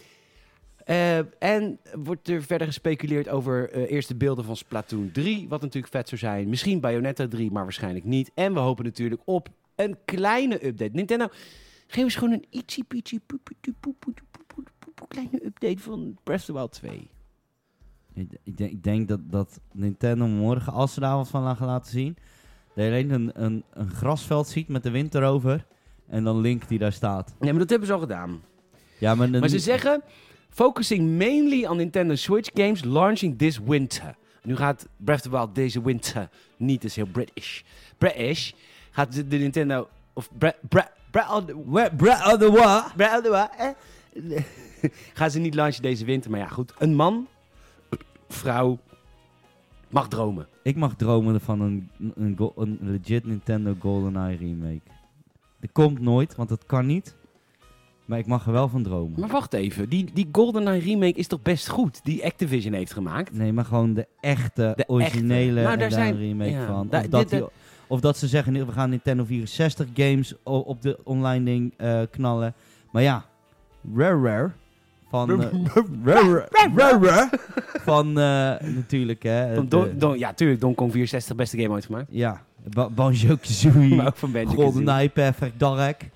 [SPEAKER 2] Eh, en wordt er verder gespeculeerd over eh, eerste beelden van Splatoon 3, wat natuurlijk vet zou zijn. Misschien Bayonetta 3, maar waarschijnlijk niet. En we hopen natuurlijk op een kleine update. Nintendo, geef eens gewoon een ietsje, pietje, poepie, poepie, poepie, poepie, poepie, kleine update van Breath of the Wild 2.
[SPEAKER 1] Ik, ik denk, ik denk dat, dat Nintendo morgen, als ze daar wat van gaan laten zien, dat je alleen een, een, een grasveld ziet met de wind erover. En dan Link die daar staat.
[SPEAKER 2] Nee, maar dat hebben ze al gedaan.
[SPEAKER 1] Ja, maar, dan-
[SPEAKER 2] Maar ze zeggen, focusing mainly on Nintendo Switch games launching this winter. Nu gaat Breath of the Wild deze winter niet, is heel British. British gaat de, de Nintendo, of Bre- Bre- Breath of the
[SPEAKER 1] Where- Breath of the Wild.
[SPEAKER 2] Breath of the Wild, eh? Gaan ze niet launchen deze winter, maar ja goed. Een man, vrouw, mag dromen.
[SPEAKER 1] Ik mag dromen van een, een, go- een legit Nintendo GoldenEye remake. Dat komt nooit, want dat kan niet. Maar ik mag er wel van dromen.
[SPEAKER 2] Maar wacht even, die, die GoldenEye remake is toch best goed, die Activision heeft gemaakt?
[SPEAKER 1] Nee, maar gewoon de echte,
[SPEAKER 2] De echte.
[SPEAKER 1] originele
[SPEAKER 2] Nou,
[SPEAKER 1] en
[SPEAKER 2] daar
[SPEAKER 1] daar
[SPEAKER 2] zijn-
[SPEAKER 1] een remake
[SPEAKER 2] ja,
[SPEAKER 1] van. Of,
[SPEAKER 2] daar-
[SPEAKER 1] dat
[SPEAKER 2] dit-
[SPEAKER 1] die- of dat ze zeggen, we gaan Nintendo 64 games o- op de online ding eh, knallen. Maar ja, Rare Rare van... eh, Rare Rare- Rare Rare van eh, natuurlijk, hè.
[SPEAKER 2] Don,
[SPEAKER 1] de-
[SPEAKER 2] Don- Don- ja, tuurlijk, Donkey Kong 64, beste game ooit gemaakt.
[SPEAKER 1] ja, Ba- Banjo-Kazooie.
[SPEAKER 2] Maar ook van Benji Kazooie.
[SPEAKER 1] GoldenEye, Perfect Dark.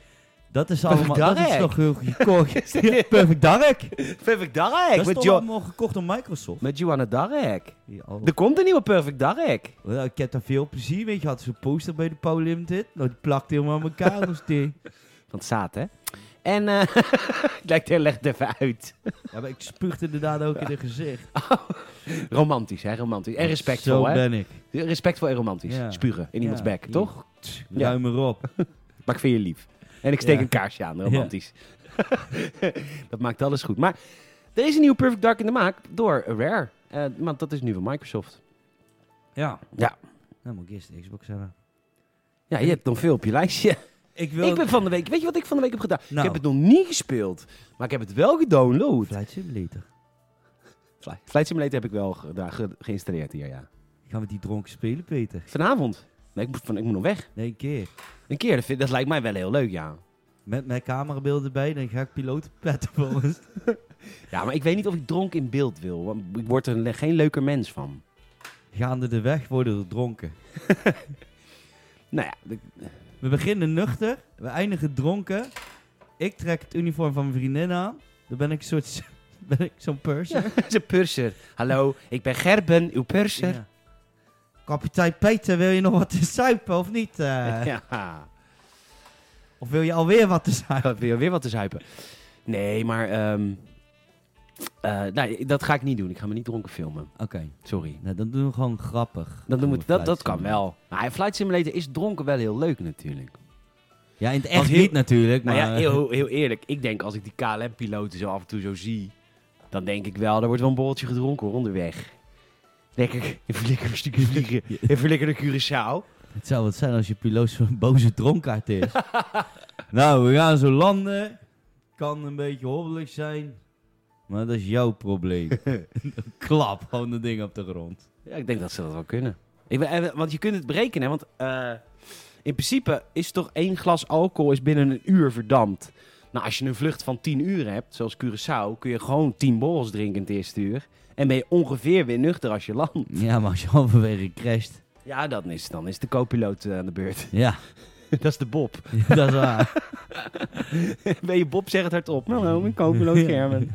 [SPEAKER 1] Dat is allemaal,
[SPEAKER 2] Perfect
[SPEAKER 1] dat is
[SPEAKER 2] Dark?
[SPEAKER 1] toch heel gekocht. Ja, Perfect Dark.
[SPEAKER 2] Perfect
[SPEAKER 1] Dat
[SPEAKER 2] Dark!
[SPEAKER 1] is
[SPEAKER 2] Met,
[SPEAKER 1] toch
[SPEAKER 2] Jo-
[SPEAKER 1] allemaal gekocht door Microsoft.
[SPEAKER 2] met Johanna Dark.
[SPEAKER 1] Ja, oh. al-
[SPEAKER 2] Er komt een nieuwe Perfect Dark.
[SPEAKER 1] Ja, ik heb daar veel plezier mee. Je had zo'n poster bij de Power Limited. Nou, die plakte helemaal aan elkaar. dus die.
[SPEAKER 2] Van Saat, hè? En, eh lijkt heel erg even uit.
[SPEAKER 1] Ja, maar ik spuugde inderdaad ook in het gezicht.
[SPEAKER 2] Romantisch, hè? Romantisch. En respectvol,
[SPEAKER 1] Zo
[SPEAKER 2] hè?
[SPEAKER 1] ben ik.
[SPEAKER 2] Respectvol en romantisch.
[SPEAKER 1] Ja.
[SPEAKER 2] Spuren in iemands
[SPEAKER 1] Ja,
[SPEAKER 2] bek,
[SPEAKER 1] hier.
[SPEAKER 2] toch? Ja.
[SPEAKER 1] Ruim erop.
[SPEAKER 2] Maar ik vind je lief. En ik steek
[SPEAKER 1] Ja.
[SPEAKER 2] een kaarsje aan, romantisch. dat maakt alles goed. Maar er is een nieuwe Perfect Dark in de maak door Rare. Eh, want dat is nu van Microsoft.
[SPEAKER 1] Ja.
[SPEAKER 2] Ja.
[SPEAKER 1] Dan moet ik eerst de Xbox hebben.
[SPEAKER 2] Ja, je hebt nog veel op je lijstje.
[SPEAKER 1] Ik wil...
[SPEAKER 2] Ik ben van de week... Weet je wat ik van de week heb gedaan? Ik
[SPEAKER 1] Nou.
[SPEAKER 2] heb het nog niet gespeeld. Maar ik heb het wel gedownload.
[SPEAKER 1] Flight Simulator.
[SPEAKER 2] Fly- Flight Simulator heb ik wel gedaan, ge- geïnstalleerd hier, ja.
[SPEAKER 1] Gaan we die dronken spelen, Peter?
[SPEAKER 2] Vanavond. Nee, ik moet, van, ik moet nog weg.
[SPEAKER 1] Nee, een keer.
[SPEAKER 2] Een keer, dat, vind- dat lijkt mij wel heel leuk, ja.
[SPEAKER 1] Met mijn camerabeelden erbij. Dan ga ik pilotenpetten volgens.
[SPEAKER 2] Ja, maar ik weet niet of ik dronken in beeld wil. Want ik word er le- geen leuker mens van.
[SPEAKER 1] Gaande de weg worden we dronken.
[SPEAKER 2] Nou ja, ik-
[SPEAKER 1] We beginnen nuchter, we eindigen dronken. Ik trek het uniform van mijn vriendin aan. Dan ben ik een soort. Ben ik zo'n purser.
[SPEAKER 2] Dat is een purser. Hallo, ik ben Gerben, uw purser.
[SPEAKER 1] Ja. Kapitein Peter, wil je nog wat te zuipen of niet? eh?
[SPEAKER 2] Ja,
[SPEAKER 1] Of wil je alweer wat te zuipen?
[SPEAKER 2] dat wil je weer wat te zuipen. Nee, maar ehm, Eh, nee, dat ga ik niet doen. Ik ga me niet dronken filmen.
[SPEAKER 1] Oké,
[SPEAKER 2] Sorry.
[SPEAKER 1] nou, dan doen we gewoon grappig.
[SPEAKER 2] Dan doen we,
[SPEAKER 1] Flight
[SPEAKER 2] dat, dat kan
[SPEAKER 1] Simulator.
[SPEAKER 2] wel. Maar Flight Simulator is dronken wel heel leuk natuurlijk.
[SPEAKER 1] Ja, in het
[SPEAKER 2] Want
[SPEAKER 1] echt
[SPEAKER 2] heel-
[SPEAKER 1] niet natuurlijk, maar...
[SPEAKER 2] Nou ja, heel, heel eerlijk. Ik denk als ik die KLM-piloten zo af en toe zo zie, dan denk ik wel, er wordt wel een borreltje gedronken hoor, onderweg. Lekker, even lekker een stukje vliegen. Even lekker naar Curaçao.
[SPEAKER 1] Het zou wat zijn als je piloot zo'n boze dronkaard is. nou, we gaan zo landen. Kan een beetje hobbelig zijn. Maar dat is jouw probleem. Klap, gewoon de ding op de grond.
[SPEAKER 2] Ja, ik denk dat ze dat wel kunnen. Ik ben, eh, want je kunt het berekenen, want eh, in principe is toch één glas alcohol is binnen een uur verdampt. Nou, als je een vlucht van 10 uur hebt, zoals Curaçao, kun je gewoon 10 borrels drinken in het eerste uur. En ben je ongeveer weer nuchter als je landt.
[SPEAKER 1] Ja, maar als je halverwege crasht.
[SPEAKER 2] Ja, dat is, dan is de co-piloot eh, aan de beurt.
[SPEAKER 1] Ja,
[SPEAKER 2] dat is de Bob.
[SPEAKER 1] dat is waar.
[SPEAKER 2] Ben je Bob, zeg het hardop. Nou, nou, mijn kookbeloon Germen.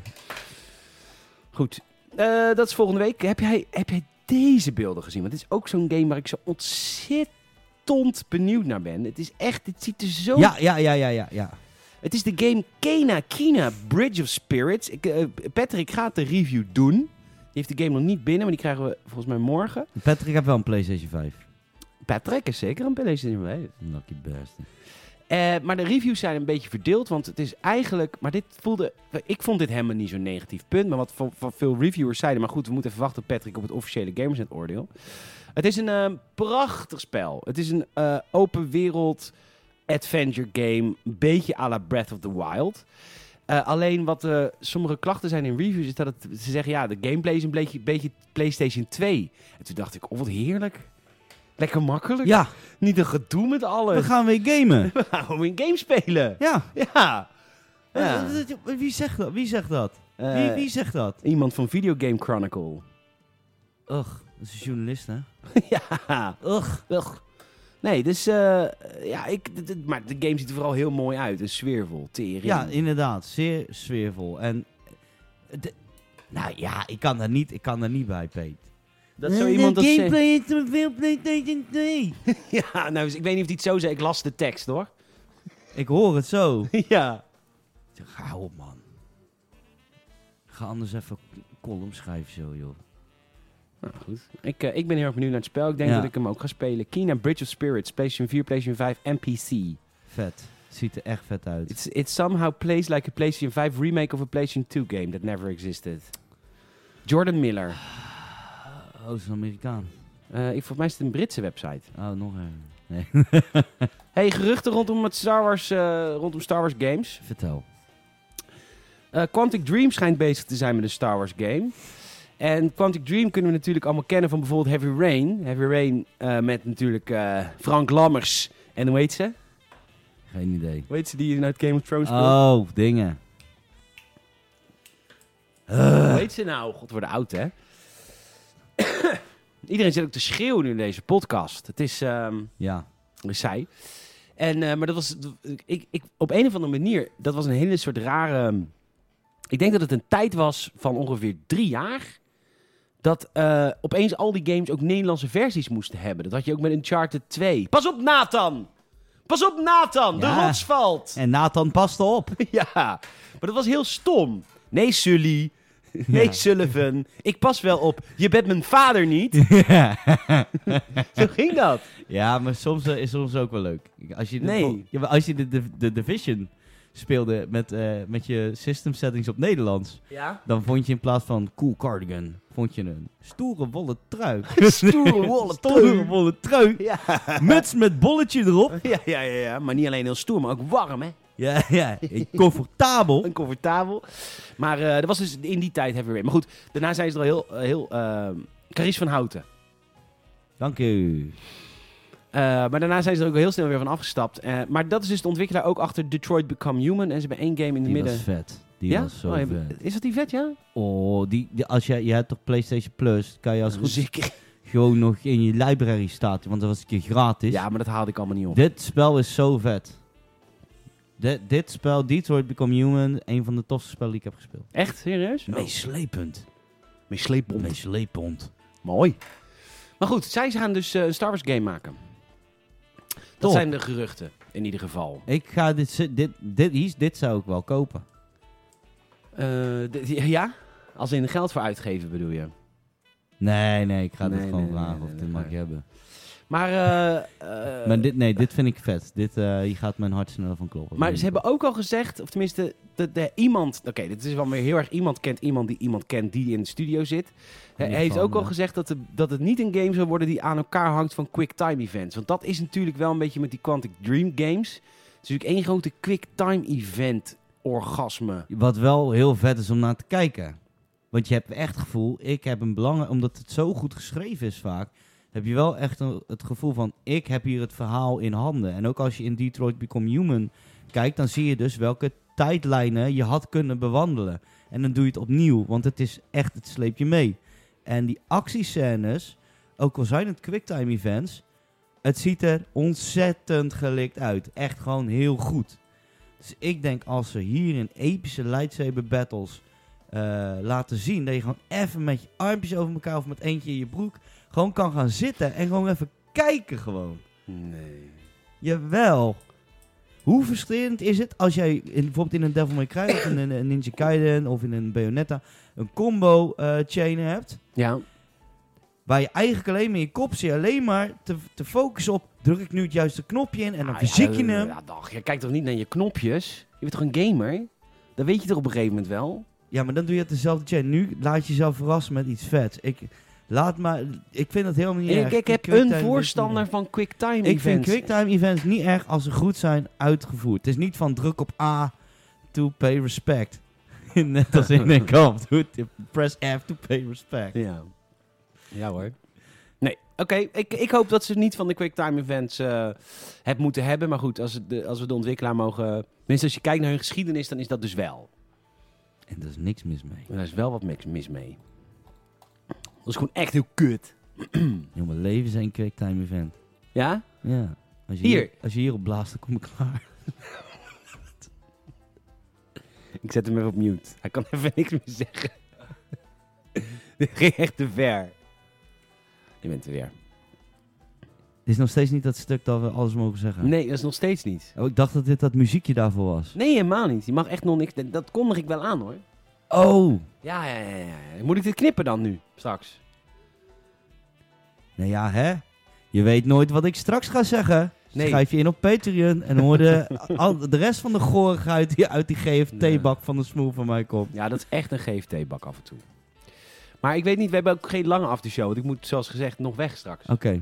[SPEAKER 2] Goed. Eh, dat is volgende week. Heb jij, heb jij deze beelden gezien? Want dit is ook zo'n game waar ik zo ontzettend benieuwd naar ben. Het is echt, het ziet er zo...
[SPEAKER 1] Ja, ja, ja, ja, ja. ja.
[SPEAKER 2] Het is de game Kena Kina Bridge of Spirits. Ik, eh, Patrick gaat de review doen. Die heeft de game nog niet binnen, maar die krijgen we volgens mij morgen.
[SPEAKER 1] Patrick heeft wel een PlayStation 5.
[SPEAKER 2] Patrick is zeker een PlayStation bij.
[SPEAKER 1] Lucky bastard.
[SPEAKER 2] Eh, maar de reviews zijn een beetje verdeeld, want het is eigenlijk... Maar dit voelde... Ik vond dit helemaal niet zo'n negatief punt, maar wat van, van veel reviewers zeiden... Maar goed, we moeten even wachten, Patrick, op het officiële Gamersnet oordeel. Het is een eh, prachtig spel. Het is een eh, open wereld adventure game, een beetje à la Breath of the Wild. Eh, alleen wat eh, sommige klachten zijn in reviews, is dat het, ze zeggen... Ja, de gameplay is een beetje, beetje PlayStation 2. En toen dacht ik, oh wat heerlijk. Lekker makkelijk.
[SPEAKER 1] Ja,
[SPEAKER 2] Niet een gedoe met
[SPEAKER 1] we
[SPEAKER 2] alles.
[SPEAKER 1] gaan weer gamen.
[SPEAKER 2] We gaan gewoon Nou, een game spelen.
[SPEAKER 1] Ja.
[SPEAKER 2] Ja.
[SPEAKER 1] Eh, eh, eh, Wie zegt dat? Wie zegt dat? Wie,
[SPEAKER 2] Eh,
[SPEAKER 1] wie zegt dat?
[SPEAKER 2] Iemand van Video Game Chronicle.
[SPEAKER 1] Och, dat is een journalist, hè?
[SPEAKER 2] ja.
[SPEAKER 1] Och.
[SPEAKER 2] Ugh. Nee, dus eh, ja, ik, d- d- maar de game ziet er vooral heel mooi uit. En sfeervol, tering.
[SPEAKER 1] Ja, inderdaad. Zeer sfeervol. En eh, de- nou ja, ik kan daar niet, ik kan daar niet bij, Peet. Eh,
[SPEAKER 2] dat zou iemand dat zeggen.
[SPEAKER 1] gameplay is te veel PlayStation 2.
[SPEAKER 2] Ja, nou, dus ik weet niet of hij het zo zei. Ik las de tekst, hoor.
[SPEAKER 1] ik hoor het zo.
[SPEAKER 2] ja.
[SPEAKER 1] Ik zeg, Ga op, man. Ga anders even column schrijven zo, joh.
[SPEAKER 2] Nou, goed. Ik, eh, ik ben heel erg benieuwd naar het spel. Ik denk
[SPEAKER 1] Ja.
[SPEAKER 2] dat ik hem ook ga spelen. Kina Bridge of Spirits, PlayStation 4, PlayStation 5 en PC.
[SPEAKER 1] Vet. Ziet er echt vet uit.
[SPEAKER 2] It's, it somehow plays like a PlayStation 5 remake of a PlayStation 2 game that never existed. Jordan Miller.
[SPEAKER 1] Oh, het is een Amerikaan.
[SPEAKER 2] Eh, ik, volgens mij is het een Britse website.
[SPEAKER 1] Oh, nog een. Nee,
[SPEAKER 2] Hey, geruchten rondom, het Star, Wars, eh, rondom Star Wars games.
[SPEAKER 1] vertel.
[SPEAKER 2] Eh, Quantic Dream schijnt bezig te zijn met een Star Wars game. En Quantic Dream kunnen we natuurlijk allemaal kennen van bijvoorbeeld Heavy Rain. Heavy Rain eh, met natuurlijk eh, Frank Lammers. En hoe heet ze?
[SPEAKER 1] Geen idee.
[SPEAKER 2] Hoe heet ze die in uit Game of Thrones speelt?
[SPEAKER 1] Oh, dingen.
[SPEAKER 2] Hoe heet ze nou? God, worden oud, hè? Iedereen zit ook te schreeuwen nu in deze podcast. Het is... ehm,
[SPEAKER 1] Ja.
[SPEAKER 2] Dus zij. En, eh, maar dat was. Ik, ik, op een of andere manier, dat was een hele soort rare. ehm, Ik denk dat het een tijd was van ongeveer drie jaar. Dat eh, opeens al die games ook Nederlandse versies moesten hebben. Dat had je ook met Uncharted 2. Pas op, Nathan! Pas op, Nathan! De
[SPEAKER 1] Ja.
[SPEAKER 2] rots valt!
[SPEAKER 1] En Nathan paste op.
[SPEAKER 2] Ja, maar dat was heel stom. Nee, Sully. Nee, Sullivan. Ik pas wel op. Je bent mijn vader niet. Zo ging dat.
[SPEAKER 1] Ja, maar soms eh, is soms ook wel leuk. Als je de,
[SPEAKER 2] Nee.
[SPEAKER 1] ja, maar als je de, de, de Division speelde met, eh, met je system settings op Nederlands,
[SPEAKER 2] Ja.
[SPEAKER 1] dan vond je in plaats van cool cardigan, vond je een stoere wollen trui.
[SPEAKER 2] Stoere wollen trui.
[SPEAKER 1] Stoere wollen trui.
[SPEAKER 2] Ja.
[SPEAKER 1] Muts met bolletje erop.
[SPEAKER 2] Ja, ja, ja, ja, maar niet alleen heel stoer, maar ook warm, hè?
[SPEAKER 1] Ja, ja. Comfortabel.
[SPEAKER 2] En comfortabel. Maar eh dat was dus in die tijd hebben we weer. Maar goed, daarna zijn ze er al heel... eh, heel ehm Carice van Houten.
[SPEAKER 1] Dank u.
[SPEAKER 2] Eh, maar daarna zijn ze er ook heel snel weer van afgestapt. Eh, maar dat is dus de ontwikkelaar ook achter Detroit Become Human. En ze hebben één game in de
[SPEAKER 1] Die
[SPEAKER 2] midden.
[SPEAKER 1] was vet. Die
[SPEAKER 2] ja?
[SPEAKER 1] was zo
[SPEAKER 2] Oh, heb-
[SPEAKER 1] vet.
[SPEAKER 2] is dat die vet, ja?
[SPEAKER 1] Oh, die, die- als jij, je hebt toch PlayStation Plus, kan je als goed is
[SPEAKER 2] Zeker.
[SPEAKER 1] gewoon nog in je library staat, want dat was een keer gratis.
[SPEAKER 2] Ja, maar dat haalde ik allemaal niet op.
[SPEAKER 1] Dit spel is zo vet. Dit- dit spel, Detroit Become Human, een van de tofste spellen die ik heb gespeeld.
[SPEAKER 2] Echt? Serieus? Oh.
[SPEAKER 1] Meeslepend.
[SPEAKER 2] Meesleepbom.
[SPEAKER 1] Meeslepend.
[SPEAKER 2] Mooi. Maar goed, zij gaan dus eh, een Star Wars game maken. Dat
[SPEAKER 1] Top.
[SPEAKER 2] zijn de geruchten, in ieder geval.
[SPEAKER 1] Ik ga dit, zi- dit, dit, hier- dit zou ik wel kopen.
[SPEAKER 2] Eh, d- ja? Als in geld voor uitgeven bedoel je.
[SPEAKER 1] Nee, nee, ik ga
[SPEAKER 2] Nee,
[SPEAKER 1] dit gewoon
[SPEAKER 2] nee, nee,
[SPEAKER 1] vragen
[SPEAKER 2] nee,
[SPEAKER 1] of
[SPEAKER 2] nee,
[SPEAKER 1] dit
[SPEAKER 2] dat
[SPEAKER 1] mag
[SPEAKER 2] ga
[SPEAKER 1] ik hebben.
[SPEAKER 2] Maar, eh, eh,
[SPEAKER 1] maar dit, nee, dit vind ik vet. Dit, eh, hier gaat mijn hart sneller van kloppen.
[SPEAKER 2] maar ze hebben ook al gezegd, of tenminste, dat de, iemand... Oké, dit is wel weer heel erg iemand kent iemand die iemand kent die in de studio zit. Hij
[SPEAKER 1] ieder
[SPEAKER 2] heeft
[SPEAKER 1] geval,
[SPEAKER 2] ook al
[SPEAKER 1] ja.
[SPEAKER 2] gezegd dat, de- dat het niet een game zou worden die aan elkaar hangt van quick-time events. Want dat is natuurlijk wel een beetje met die Quantic Dream games. Het is natuurlijk één grote quick-time event orgasme.
[SPEAKER 1] Wat wel heel vet is om naar te kijken. Want je hebt echt het gevoel, ik heb een belang, omdat het zo goed geschreven is vaak, heb je wel echt een- het gevoel van, ik heb hier het verhaal in handen. En ook als je in Detroit Become Human kijkt, dan zie je dus welke tijdlijnen je had kunnen bewandelen. En dan doe je het opnieuw, want het is echt, het sleep je mee. En die actiescènes, ook al zijn het quicktime events, het ziet er ontzettend gelikt uit. Echt gewoon heel goed. Dus ik denk als ze hier in epische lightsaber battles eh, laten zien dat je gewoon even met je armpjes over elkaar of met eentje in je broek gewoon kan gaan zitten en gewoon even kijken gewoon.
[SPEAKER 2] Nee.
[SPEAKER 1] Jawel. Hoe frustrerend is het als jij in, bijvoorbeeld in een Devil May Cry of in een, een Ninja Gaiden of in een Bayonetta een combo eh, chain hebt
[SPEAKER 2] Ja,
[SPEAKER 1] waar je eigenlijk alleen maar in je kop zit alleen maar te, te focussen op druk ik nu het juiste knopje in en dan
[SPEAKER 2] Ah,
[SPEAKER 1] verziek
[SPEAKER 2] ja,
[SPEAKER 1] je hem.
[SPEAKER 2] Ja, dag, je kijkt toch niet naar je knopjes? Je bent toch een gamer? Dat weet je toch op een gegeven moment wel?
[SPEAKER 1] Ja, maar dan doe je het dezelfde chain. Nu laat je jezelf verrassen met iets vets. Ik, laat maar, ik vind dat helemaal niet
[SPEAKER 2] En
[SPEAKER 1] erg.
[SPEAKER 2] ik, ik heb
[SPEAKER 1] Quicktime
[SPEAKER 2] een
[SPEAKER 1] is niet
[SPEAKER 2] voorstander
[SPEAKER 1] erg.
[SPEAKER 2] van quicktime
[SPEAKER 1] Ik
[SPEAKER 2] events.
[SPEAKER 1] vind quicktime events niet erg als ze goed zijn uitgevoerd. Het is niet van druk op A to pay respect. Net als in een kamp. Doe het, Press F to pay respect.
[SPEAKER 2] Ja. Ja hoor. Nee, oké. Ik, ik hoop dat ze niet van de quicktime events eh, het moeten hebben. Maar goed, als, het de, als we de ontwikkelaar mogen... Tenminste, als je kijkt naar hun geschiedenis, dan is dat dus wel.
[SPEAKER 1] En daar is niks mis mee.
[SPEAKER 2] En daar is wel wat mis- mis mee. Dat is gewoon echt heel kut.
[SPEAKER 1] Heel mijn leven is een quicktime event.
[SPEAKER 2] Ja?
[SPEAKER 1] Ja. Als je
[SPEAKER 2] Hier.
[SPEAKER 1] als je hierop blaast, dan kom ik klaar.
[SPEAKER 2] Ik zet hem even op mute. Hij kan even niks meer zeggen. Dit ging echt te ver. Je bent er weer.
[SPEAKER 1] Het is nog steeds niet dat stuk dat we alles mogen zeggen.
[SPEAKER 2] Nee, dat is nog steeds niet.
[SPEAKER 1] Oh, ik dacht dat dit dat muziekje daarvoor was.
[SPEAKER 2] Nee, helemaal niet. Je mag echt nog niks. Dat kondig ik wel aan hoor.
[SPEAKER 1] Oh!
[SPEAKER 2] Ja, ja, ja, ja. Moet ik dit knippen dan nu? Straks.
[SPEAKER 1] Nou ja, hè? Je weet nooit wat ik straks ga zeggen.
[SPEAKER 2] Nee.
[SPEAKER 1] Schrijf je in op Patreon en hoor de, al- de rest van de gorigheid die uit die GFT-bak van de smoel van mij komt.
[SPEAKER 2] Ja, dat is echt een GFT-bak af en toe. Maar ik weet niet, we hebben ook geen lange aftershow. Want ik moet, zoals gezegd, nog weg straks.
[SPEAKER 1] Oké.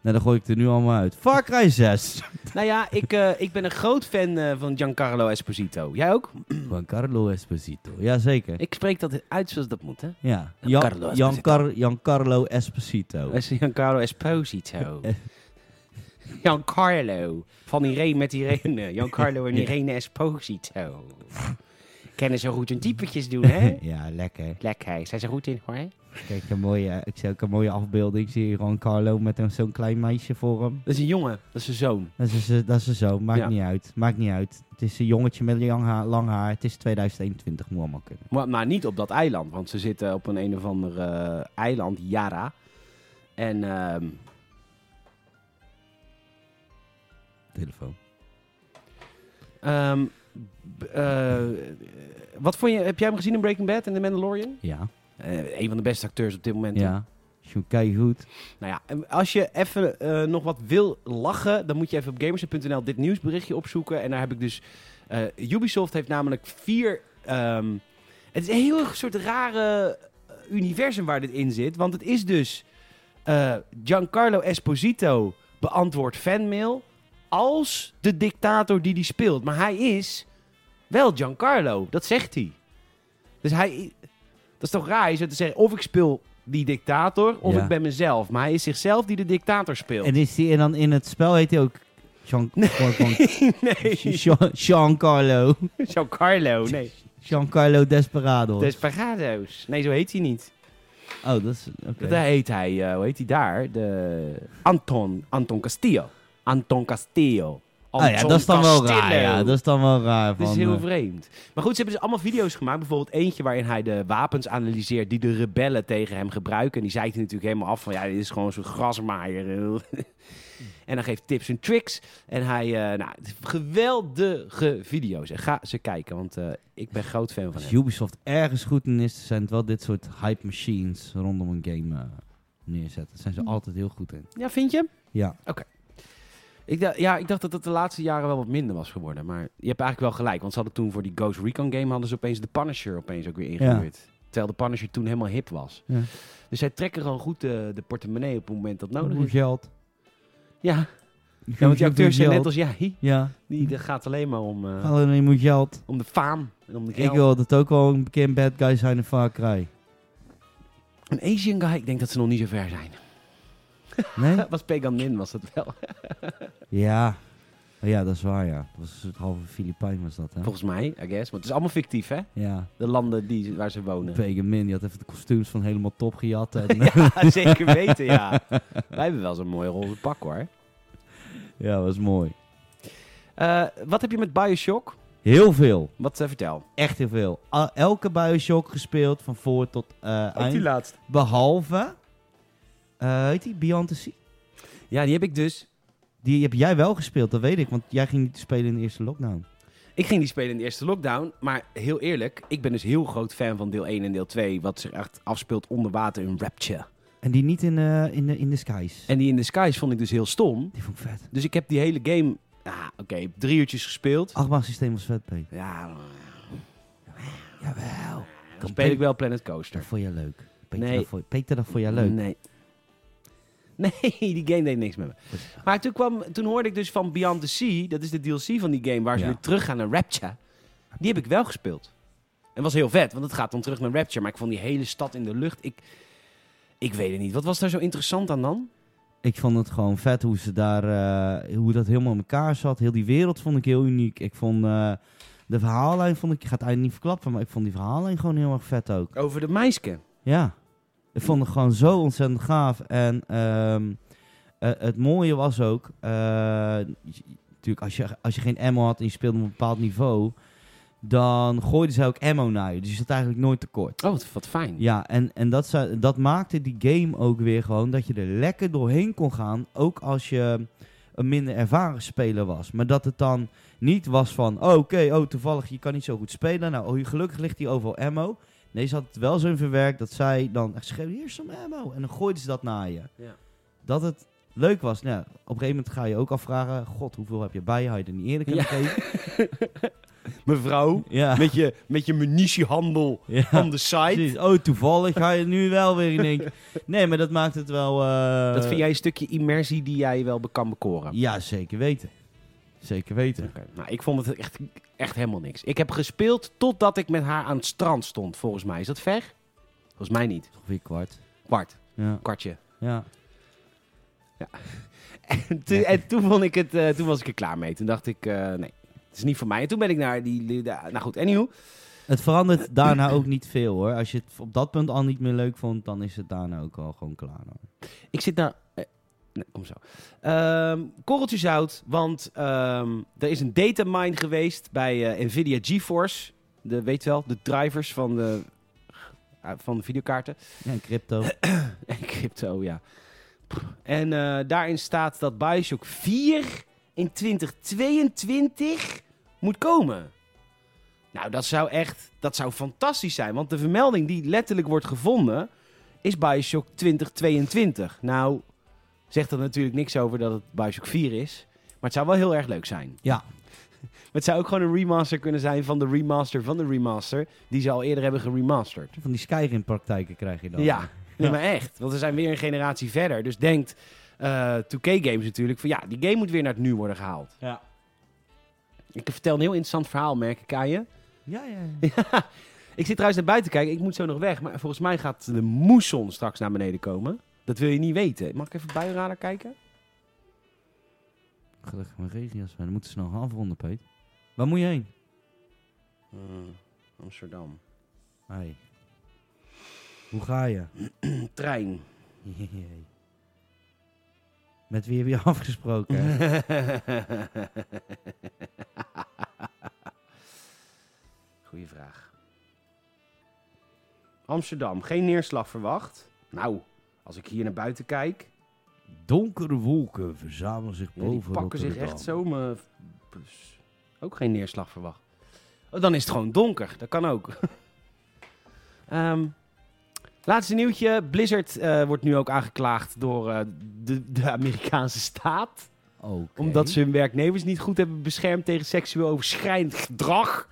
[SPEAKER 1] Nou, dan gooi ik het er nu allemaal uit. Far Cry 6.
[SPEAKER 2] Nou ja, ik, eh, ik ben een groot fan eh, van Giancarlo Esposito. Jij ook?
[SPEAKER 1] Van Carlo Esposito. Jazeker.
[SPEAKER 2] Ik spreek dat uit zoals dat moet, hè?
[SPEAKER 1] Ja.
[SPEAKER 2] Carlo
[SPEAKER 1] Jan, Jan,
[SPEAKER 2] Esposito.
[SPEAKER 1] Car- Giancarlo Esposito.
[SPEAKER 2] Dat is Eh, Giancarlo Esposito. Giancarlo. Van Irene met Irene. Giancarlo en
[SPEAKER 1] Ja.
[SPEAKER 2] Irene Esposito. Kennen zo goed hun typetjes doen, hè?
[SPEAKER 1] ja, lekker.
[SPEAKER 2] Lekker, zijn ze goed in, hoor.
[SPEAKER 1] Kijk, een mooie, ik zie ook een mooie afbeelding. Zie je gewoon Carlo met een- zo'n klein meisje voor hem.
[SPEAKER 2] Dat is een jongen, dat is zijn zoon.
[SPEAKER 1] Dat is, eh, dat is zo, maakt
[SPEAKER 2] Ja.
[SPEAKER 1] niet uit. Maakt niet uit. Het is een jongetje met lang haar, lang haar. Het is 2021, moet allemaal kunnen.
[SPEAKER 2] Maar, maar niet op dat eiland, want ze zitten op een een of ander eh, eiland, Yara. En ehm,
[SPEAKER 1] Telefoon.
[SPEAKER 2] ehm, b- eh, wat vond je, heb jij hem gezien in Breaking Bad en The Mandalorian?
[SPEAKER 1] Ja,
[SPEAKER 2] Eh, een van de beste acteurs op dit moment.
[SPEAKER 1] ja. Sjoekai goed.
[SPEAKER 2] Nou ja, en als je even eh, nog wat wil lachen, dan moet je even op gamersen.nl dit nieuwsberichtje opzoeken. En daar heb ik dus. eh, Ubisoft heeft namelijk vier. ehm, het is een heel erg soort rare eh, universum waar dit in zit. Want het is dus. eh, Giancarlo Esposito beantwoordt fanmail. Als de dictator die die speelt. Maar hij is wel Giancarlo. Dat zegt hij. Dus hij. Dat is toch raar? Je zou te zeggen: of ik speel die dictator. of
[SPEAKER 1] Ja.
[SPEAKER 2] ik ben mezelf. Maar hij is zichzelf die de dictator speelt.
[SPEAKER 1] En, is die, en dan in het spel heet hij ook Jean, gewoon- gewoon-
[SPEAKER 2] nee,
[SPEAKER 1] Jean- Giancarlo.
[SPEAKER 2] Giancarlo. Nee.
[SPEAKER 1] Giancarlo Desperado.
[SPEAKER 2] Desperados. Nee, zo heet hij niet.
[SPEAKER 1] oh, dat is... oké.
[SPEAKER 2] Daar heet hij, eh, hoe heet hij daar? De... Anton, Anton Castillo. Anton Castillo.
[SPEAKER 1] Ah, ja,
[SPEAKER 2] Anton
[SPEAKER 1] dat is dan wel
[SPEAKER 2] Castillo.
[SPEAKER 1] raar. Ja, dat is dan wel raar.
[SPEAKER 2] Dit
[SPEAKER 1] Van,
[SPEAKER 2] is heel
[SPEAKER 1] eh,
[SPEAKER 2] vreemd. Maar goed, ze hebben dus allemaal video's gemaakt. Bijvoorbeeld eentje waarin hij de wapens analyseert die de rebellen tegen hem gebruiken. En die zeikt hij natuurlijk helemaal af van ja, dit is gewoon zo'n grasmaaier. en dan geeft tips en tricks. En hij, eh, nou, geweldige video's. En ga ze kijken, want eh, ik ben groot fan van
[SPEAKER 1] als
[SPEAKER 2] hem.
[SPEAKER 1] Ubisoft ergens goed in is, zijn het wel dit soort hype machines rondom een game eh, neerzetten. Daar zijn
[SPEAKER 2] Hm.
[SPEAKER 1] ze altijd heel goed in.
[SPEAKER 2] Ja, vind je?
[SPEAKER 1] Ja.
[SPEAKER 2] Ik dacht, ja, ik dacht dat het de laatste jaren wel wat minder was geworden. Maar je hebt eigenlijk wel gelijk. Want ze hadden toen voor die Ghost Recon game hadden ze opeens de Punisher opeens ook weer ingehuurd. Terwijl de Punisher toen helemaal hip was.
[SPEAKER 1] Ja.
[SPEAKER 2] Dus zij trekken gewoon goed de, de portemonnee op het moment Nou, dat nodig
[SPEAKER 1] Hoe
[SPEAKER 2] is.
[SPEAKER 1] geld?
[SPEAKER 2] Ja, ja want die acteurs zijn net als jij.
[SPEAKER 1] Ja,
[SPEAKER 2] Die, dat gaat alleen maar om, eh,
[SPEAKER 1] alleen je moet geld.
[SPEAKER 2] om de faam en om de
[SPEAKER 1] Oh. Ik
[SPEAKER 2] geld.
[SPEAKER 1] wil dat ook wel een bekend bad guy zijn in Far Cry.
[SPEAKER 2] Een Asian guy, ik denk dat ze nog niet zo ver zijn.
[SPEAKER 1] Nee?
[SPEAKER 2] was Pegan Nin, was dat wel.
[SPEAKER 1] ja. Oh ja, dat is waar, ja. Dat was een soort halve Filipijn was dat, hè?
[SPEAKER 2] Volgens mij, I guess. Want het is allemaal fictief, hè?
[SPEAKER 1] Ja.
[SPEAKER 2] De landen die, waar ze wonen.
[SPEAKER 1] Pagan Min, die had even de kostuums van helemaal top gejat. En, ja.
[SPEAKER 2] ja, zeker weten, ja. Wij hebben wel zo'n mooi roze pak, hoor.
[SPEAKER 1] dat was mooi.
[SPEAKER 2] Eh, wat heb je met Bioshock?
[SPEAKER 1] Heel veel.
[SPEAKER 2] Wat eh, vertel?
[SPEAKER 1] Echt heel veel. A- elke Bioshock gespeeld, van voor tot eh, eind.
[SPEAKER 2] laatste.
[SPEAKER 1] Behalve, eh heet die, Beyond the Sea?
[SPEAKER 2] Ja, die heb ik dus.
[SPEAKER 1] Die heb jij wel gespeeld, dat weet ik. Want jij ging niet spelen in de eerste lockdown.
[SPEAKER 2] Ik ging die spelen in de eerste lockdown. Maar heel eerlijk, ik ben dus heel groot fan van deel 1 en deel 2. Wat zich echt afspeelt onder water in Rapture.
[SPEAKER 1] En die niet in, eh, in, de, in de skies.
[SPEAKER 2] En die in the skies vond ik dus heel stom.
[SPEAKER 1] Die vond ik vet.
[SPEAKER 2] Dus ik heb die hele game, ah, oké, drie uurtjes gespeeld.
[SPEAKER 1] Achtbaansysteem was vet, P.
[SPEAKER 2] Ja, maar-
[SPEAKER 1] Jawel.
[SPEAKER 2] dan speel ik wel Planet Coaster.
[SPEAKER 1] Dat vond jij leuk. Peter,
[SPEAKER 2] Nee.
[SPEAKER 1] dat vond, Peter, dat vond jij leuk.
[SPEAKER 2] Nee. Nee, die game deed niks met me. Maar toen, kwam, toen hoorde ik dus van Beyond the Sea, dat is de DLC van die game waar ze
[SPEAKER 1] Ja.
[SPEAKER 2] weer terug gaan naar Rapture. Die heb ik wel gespeeld. En was heel vet, want het gaat dan terug naar Rapture. Maar ik vond die hele stad in de lucht, ik, ik weet het niet. Wat was daar zo interessant aan dan?
[SPEAKER 1] Ik vond het gewoon vet hoe ze daar, eh, hoe dat helemaal in elkaar zat. Heel die wereld vond ik heel uniek. Ik vond eh, de verhaallijn, vond ik, ik ga het eigenlijk niet verklappen, maar ik vond die verhaallijn gewoon heel erg vet ook.
[SPEAKER 2] Over de meisje.
[SPEAKER 1] Ja, ik vond het gewoon zo ontzettend gaaf. En ehm, eh, het mooie was ook, eh, je- natuurlijk als je, als je geen ammo had en je speelde op een bepaald niveau, dan gooiden ze ook ammo naar je. Dus je zat eigenlijk nooit tekort.
[SPEAKER 2] Oh, wat, wat fijn.
[SPEAKER 1] Ja, en, en dat, zou- dat maakte die game ook weer gewoon dat je er lekker doorheen kon gaan. Ook als je een minder ervaren speler was. Maar dat het dan niet was van, oh, oké, oh, toevallig, je kan niet zo goed spelen. Nou, oh, gelukkig ligt hier overal ammo. Nee, ze had het wel zo in verwerkt dat zij dan echt schreeuwde, hier is some ammo. En dan gooiden ze dat naar je.
[SPEAKER 2] Ja.
[SPEAKER 1] Dat het leuk was. Nou, op een gegeven moment ga je ook afvragen, god, hoeveel heb je bij je? Had je er niet eerder kunnen geven?
[SPEAKER 2] Mevrouw,
[SPEAKER 1] Ja.
[SPEAKER 2] met je, met je munitiehandel
[SPEAKER 1] ja.
[SPEAKER 2] on the side.
[SPEAKER 1] Precies. Oh, toevallig ga je nu wel weer in één keer- Nee, maar dat maakt het wel... eh,
[SPEAKER 2] Dat vind jij een stukje immersie die jij wel be- kan bekoren.
[SPEAKER 1] Ja, zeker weten. Zeker weten.
[SPEAKER 2] Oké, Nou, ik vond het echt, echt helemaal niks. Ik heb gespeeld totdat ik met haar aan het strand stond, volgens mij. Is dat ver? Volgens mij niet.
[SPEAKER 1] Ongeveer kwart.
[SPEAKER 2] Kwart,
[SPEAKER 1] Ja.
[SPEAKER 2] kwartje.
[SPEAKER 1] ja.
[SPEAKER 2] En, toen- en toen, vond ik het, eh, toen was ik er klaar mee. Toen dacht ik, eh, nee, het is niet voor mij. En toen ben ik naar die... die- nou goed, anyhow.
[SPEAKER 1] Het verandert daarna ook niet veel hoor. Als je het op dat punt al niet meer leuk vond, dan is het daarna ook al gewoon klaar. Hoor.
[SPEAKER 2] Ik zit daar... eh, nee, kom zo. Ehm korreltje zout, want ehm, er is een datamine geweest bij eh, NVIDIA GeForce. De, weet je wel, de drivers van de, ah, van de videokaarten.
[SPEAKER 1] Ja, en crypto.
[SPEAKER 2] En crypto, ja. Pff. En eh, daarin staat dat Bioshock 4 in 2022 moet komen. Nou, dat zou echt... Dat zou fantastisch zijn. Want de vermelding die letterlijk wordt gevonden... is Bioshock 2022. Nou, zegt dat natuurlijk niks over dat het Bioshock 4 is. Maar het zou wel heel erg leuk zijn.
[SPEAKER 1] Ja.
[SPEAKER 2] Maar het zou ook gewoon een remaster kunnen zijn van de remaster van de remaster... die ze al eerder hebben geremasterd.
[SPEAKER 1] Van die Skyrim-praktijken krijg je dan. eh.
[SPEAKER 2] Ja, nee, maar echt. Want we zijn weer een generatie verder. Dus denkt eh 2K-games natuurlijk van ja, die game moet weer naar het nu worden gehaald.
[SPEAKER 1] Ja.
[SPEAKER 2] Ik vertel een heel interessant verhaal, merk ik aan je.
[SPEAKER 1] Ja, ja.
[SPEAKER 2] Ik zit trouwens naar buiten kijken. Ik moet zo nog weg. Maar volgens mij gaat de moesson straks naar beneden komen. Dat wil je niet weten. Mag ik even buienradar kijken?
[SPEAKER 1] Gelukkig mijn regenjas. Maar dan moeten we snel gaan afronden, Peet. Waar moet je heen?
[SPEAKER 2] Amsterdam.
[SPEAKER 1] Hey. Hoe ga je?
[SPEAKER 2] Een trein.
[SPEAKER 1] Met wie heb je afgesproken? hè?
[SPEAKER 2] Eh. Goeie vraag. Amsterdam, geen neerslag verwacht. Nou, als ik hier naar buiten kijk,
[SPEAKER 1] Donkere wolken verzamelen zich
[SPEAKER 2] ja, die
[SPEAKER 1] boven
[SPEAKER 2] pakken zich
[SPEAKER 1] Rotterdam.
[SPEAKER 2] echt zo. me- Plus. Ook geen neerslag verwacht. Oh, dan is het gewoon donker, dat kan ook. Ehm, laatste nieuwtje: Blizzard eh, wordt nu ook aangeklaagd door eh, de, de Amerikaanse staat.
[SPEAKER 1] Oké.
[SPEAKER 2] Omdat ze hun werknemers niet goed hebben beschermd tegen seksueel overschrijdend gedrag.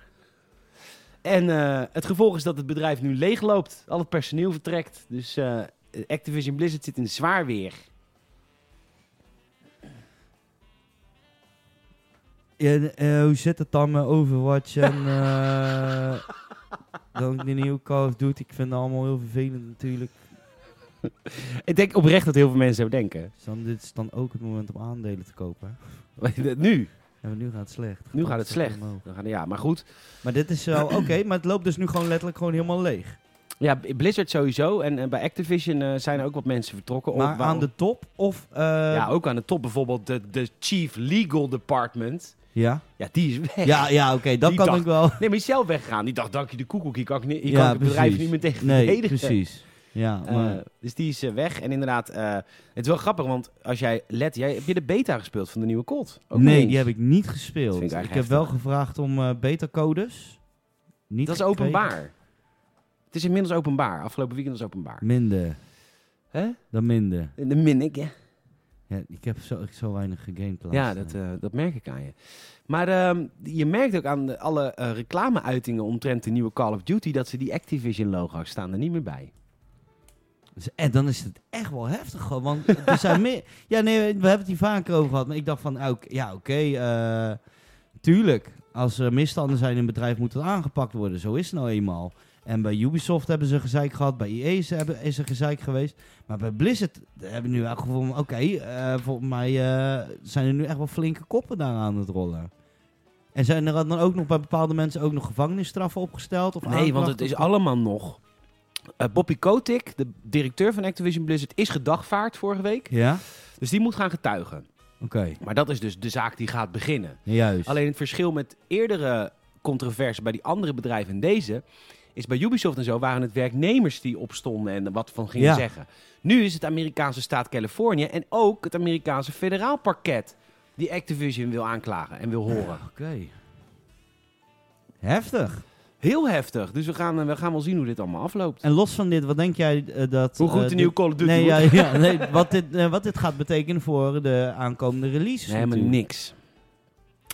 [SPEAKER 2] En eh, het gevolg is dat het bedrijf nu leegloopt. Al het personeel vertrekt. Dus eh, Activision Blizzard zit in zwaar weer.
[SPEAKER 1] Ja, eh, hoe zit het dan met Overwatch en eh, dan die nieuwe Call of Duty? Ik vind het allemaal heel vervelend natuurlijk.
[SPEAKER 2] Ik denk oprecht dat heel veel mensen zo denken.
[SPEAKER 1] Dus dan, dit is dan ook het moment om aandelen te kopen. hè?
[SPEAKER 2] nu,
[SPEAKER 1] Ja, maar nu gaat het slecht.
[SPEAKER 2] nu gaat het slecht.
[SPEAKER 1] omhoog.
[SPEAKER 2] Dan gaan- Ja, maar goed.
[SPEAKER 1] Maar dit is wel oké, maar het loopt dus nu gewoon letterlijk gewoon helemaal leeg.
[SPEAKER 2] Ja, Blizzard sowieso. En eh, bij Activision eh, zijn er ook wat mensen vertrokken. Om-
[SPEAKER 1] Maar aan
[SPEAKER 2] waarom-
[SPEAKER 1] de top of... eh,
[SPEAKER 2] ja,
[SPEAKER 1] ja.
[SPEAKER 2] ook aan de top. Bijvoorbeeld de, de Chief Legal Department.
[SPEAKER 1] Ja,
[SPEAKER 2] Ja, die is weg.
[SPEAKER 1] ja, oké, dat
[SPEAKER 2] Die
[SPEAKER 1] kan
[SPEAKER 2] dag-
[SPEAKER 1] ik wel.
[SPEAKER 2] Nee, maar die is zelf weggegaan. Die dacht, dank je de koekoek. Hier kan ik, ni- hier
[SPEAKER 1] Ja,
[SPEAKER 2] kan ik het bedrijf
[SPEAKER 1] precies.
[SPEAKER 2] niet meer tegen
[SPEAKER 1] Nee,
[SPEAKER 2] verdedigen.
[SPEAKER 1] precies. Ja,
[SPEAKER 2] Eh,
[SPEAKER 1] maar
[SPEAKER 2] dus die is eh, weg. En inderdaad, eh, het is wel grappig, want als jij let, jij, heb je de beta gespeeld van de nieuwe COD? Ook
[SPEAKER 1] nee,
[SPEAKER 2] niet.
[SPEAKER 1] die heb ik niet gespeeld.
[SPEAKER 2] Dat vind
[SPEAKER 1] ik
[SPEAKER 2] ik eigenlijk
[SPEAKER 1] heb wel gevraagd om eh beta-codes. Niet
[SPEAKER 2] Dat is
[SPEAKER 1] gekregen.
[SPEAKER 2] openbaar. Het is inmiddels openbaar. Afgelopen weekend was openbaar.
[SPEAKER 1] Minder
[SPEAKER 2] Hè?
[SPEAKER 1] dan minder.
[SPEAKER 2] De min ik, hè?
[SPEAKER 1] Ja, ik heb zo, ik zo weinig gegamed. de
[SPEAKER 2] Ja,
[SPEAKER 1] laatste
[SPEAKER 2] dat,
[SPEAKER 1] tijd.
[SPEAKER 2] eh, dat merk ik aan je. Maar ehm, je merkt ook aan de- alle eh, reclameuitingen omtrent de nieuwe Call of Duty... dat ze die Activision-logo's staan er niet meer bij.
[SPEAKER 1] Dus, en dan is het echt wel heftig gewoon. Want er zijn meer. Ja, nee, we hebben het hier vaker over gehad. Maar ik dacht van, ah, oké, ja, oké. eh, tuurlijk. Als er misstanden zijn in een bedrijf, moet dat aangepakt worden. Zo is het nou eenmaal. En bij Ubisoft hebben ze gezeik gehad. Bij EA is, hebben- is er gezeik geweest. Maar bij Blizzard hebben we nu wel het gevoel van, oké, eh, volgens mij eh, zijn er nu echt wel flinke koppen daar aan het rollen. En zijn er dan ook nog bij bepaalde mensen ook nog gevangenisstraffen opgesteld? Of
[SPEAKER 2] Nee, want het
[SPEAKER 1] aanklachten?
[SPEAKER 2] is allemaal nog... Eh, Bobby Kotick, de directeur van Activision Blizzard, is gedagvaard vorige week.
[SPEAKER 1] Ja?
[SPEAKER 2] Dus die moet gaan getuigen.
[SPEAKER 1] Oké,
[SPEAKER 2] Maar dat is dus de zaak die gaat beginnen.
[SPEAKER 1] juist.
[SPEAKER 2] Alleen het verschil met eerdere controverse bij die andere bedrijven en deze... is bij Ubisoft en zo waren het werknemers die opstonden en er wat van gingen
[SPEAKER 1] Ja.
[SPEAKER 2] zeggen. Nu is het Amerikaanse staat Californië en ook het Amerikaanse federaal parket... die Activision wil aanklagen en wil horen.
[SPEAKER 1] Oké. Heftig.
[SPEAKER 2] Heel heftig. Dus we gaan, eh, we gaan wel zien hoe dit allemaal afloopt.
[SPEAKER 1] En los van dit, wat denk jij eh, dat...
[SPEAKER 2] Hoe goed
[SPEAKER 1] eh,
[SPEAKER 2] de
[SPEAKER 1] dit-
[SPEAKER 2] nieuwe Call of Duty
[SPEAKER 1] Nee, ja,
[SPEAKER 2] wordt.
[SPEAKER 1] ja, nee wat, dit, eh, wat dit gaat betekenen voor de aankomende releases
[SPEAKER 2] Nee, maar
[SPEAKER 1] natuurlijk.
[SPEAKER 2] niks.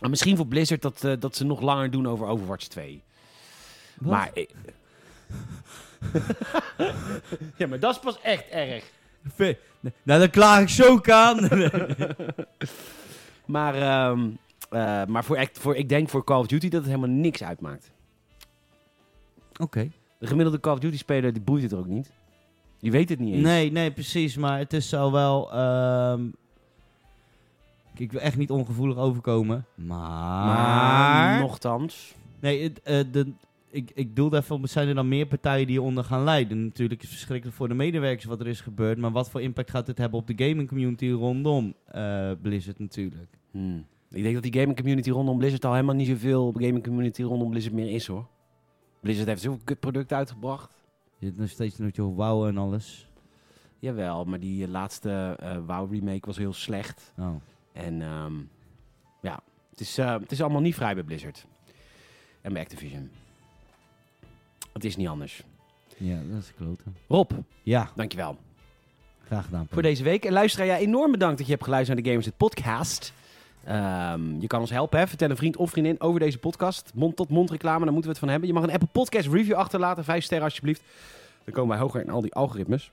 [SPEAKER 2] En misschien voor Blizzard dat, eh, dat ze nog langer doen over Overwatch 2.
[SPEAKER 1] Wat?
[SPEAKER 2] Maar... eh, ja, maar dat is pas echt erg.
[SPEAKER 1] Ve- Nou, dan klaag ik zo ook aan.
[SPEAKER 2] Maar, ehm, eh, maar voor, act- voor, ik denk voor Call of Duty dat het helemaal niks uitmaakt.
[SPEAKER 1] Oké.
[SPEAKER 2] De gemiddelde Call of Duty-speler die boeit het er ook niet. Die weet het niet eens.
[SPEAKER 1] Nee, nee, precies. Maar het is al wel... ehm, Kijk, Ik wil echt niet ongevoelig overkomen. Maar...
[SPEAKER 2] Maar, nochtans.
[SPEAKER 1] Nee, het, eh, de, ik, ik doelde even op, zijn er dan meer partijen die hieronder gaan lijden? Natuurlijk is het verschrikkelijk voor de medewerkers wat er is gebeurd, maar wat voor impact gaat dit hebben op de gaming community rondom eh, Blizzard natuurlijk?
[SPEAKER 2] Hmm. Ik denk dat die gaming community rondom Blizzard al helemaal niet zoveel gaming community rondom Blizzard meer is hoor. Blizzard heeft zoveel kutproducten uitgebracht.
[SPEAKER 1] Je hebt nog steeds een beetje wauw en alles.
[SPEAKER 2] Jawel, maar die eh, laatste eh, WoW remake was heel slecht.
[SPEAKER 1] Oh.
[SPEAKER 2] En ehm, ja, het is, eh, het is allemaal niet vrij bij Blizzard. En bij Activision. Het is niet anders.
[SPEAKER 1] Ja, dat is kloten.
[SPEAKER 2] Rob,
[SPEAKER 1] Ja,
[SPEAKER 2] dankjewel.
[SPEAKER 1] graag gedaan. Pim.
[SPEAKER 2] voor deze week. En luisteraar, ja, enorm bedankt dat je hebt geluisterd naar de Gamers het podcast. Ehm, je kan ons helpen, hè? vertel een vriend of vriendin over deze podcast. Mond-tot-mond reclame, daar moeten we het van hebben. Je mag een Apple Podcast review achterlaten, vijf sterren alsjeblieft. Dan komen wij hoger in al die algoritmes.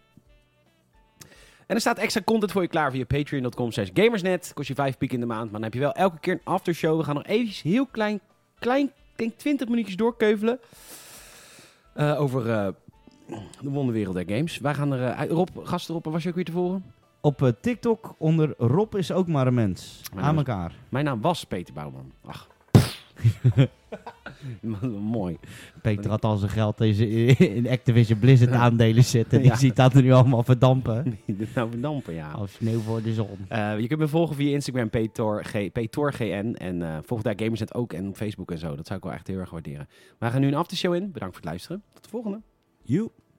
[SPEAKER 2] En er staat extra content voor je klaar via patreon.com slash gamersnet. Kost je vijf piek in de maand, maar dan heb je wel elke keer een aftershow. We gaan nog eventjes heel klein, klein, denk 20 minuutjes doorkeuvelen. eh, over eh, de wonderwereld der games. Wij gaan er, eh, uit- Rob, gast erop, was je ook weer tevoren?
[SPEAKER 1] Op eh, TikTok onder Rob is ook maar een mens.
[SPEAKER 2] Maar
[SPEAKER 1] Aan
[SPEAKER 2] dat
[SPEAKER 1] elkaar.
[SPEAKER 2] Mijn naam was Peter Bouwman. Ach. Mooi.
[SPEAKER 1] Peter had al zijn geld deze in Activision Blizzard aandelen zitten. Die
[SPEAKER 2] Ja.
[SPEAKER 1] ziet dat er nu allemaal verdampen.
[SPEAKER 2] nou, verdampen, ja.
[SPEAKER 1] Als sneeuw voor de zon.
[SPEAKER 2] Eh, je kunt me volgen via Instagram, PTORG- PTORGN. En eh volg daar Gamersnet ook en op Facebook en zo. Dat zou ik wel echt heel erg waarderen. We gaan nu een aftershow in. Bedankt voor het luisteren. Tot de volgende.
[SPEAKER 3] Joep.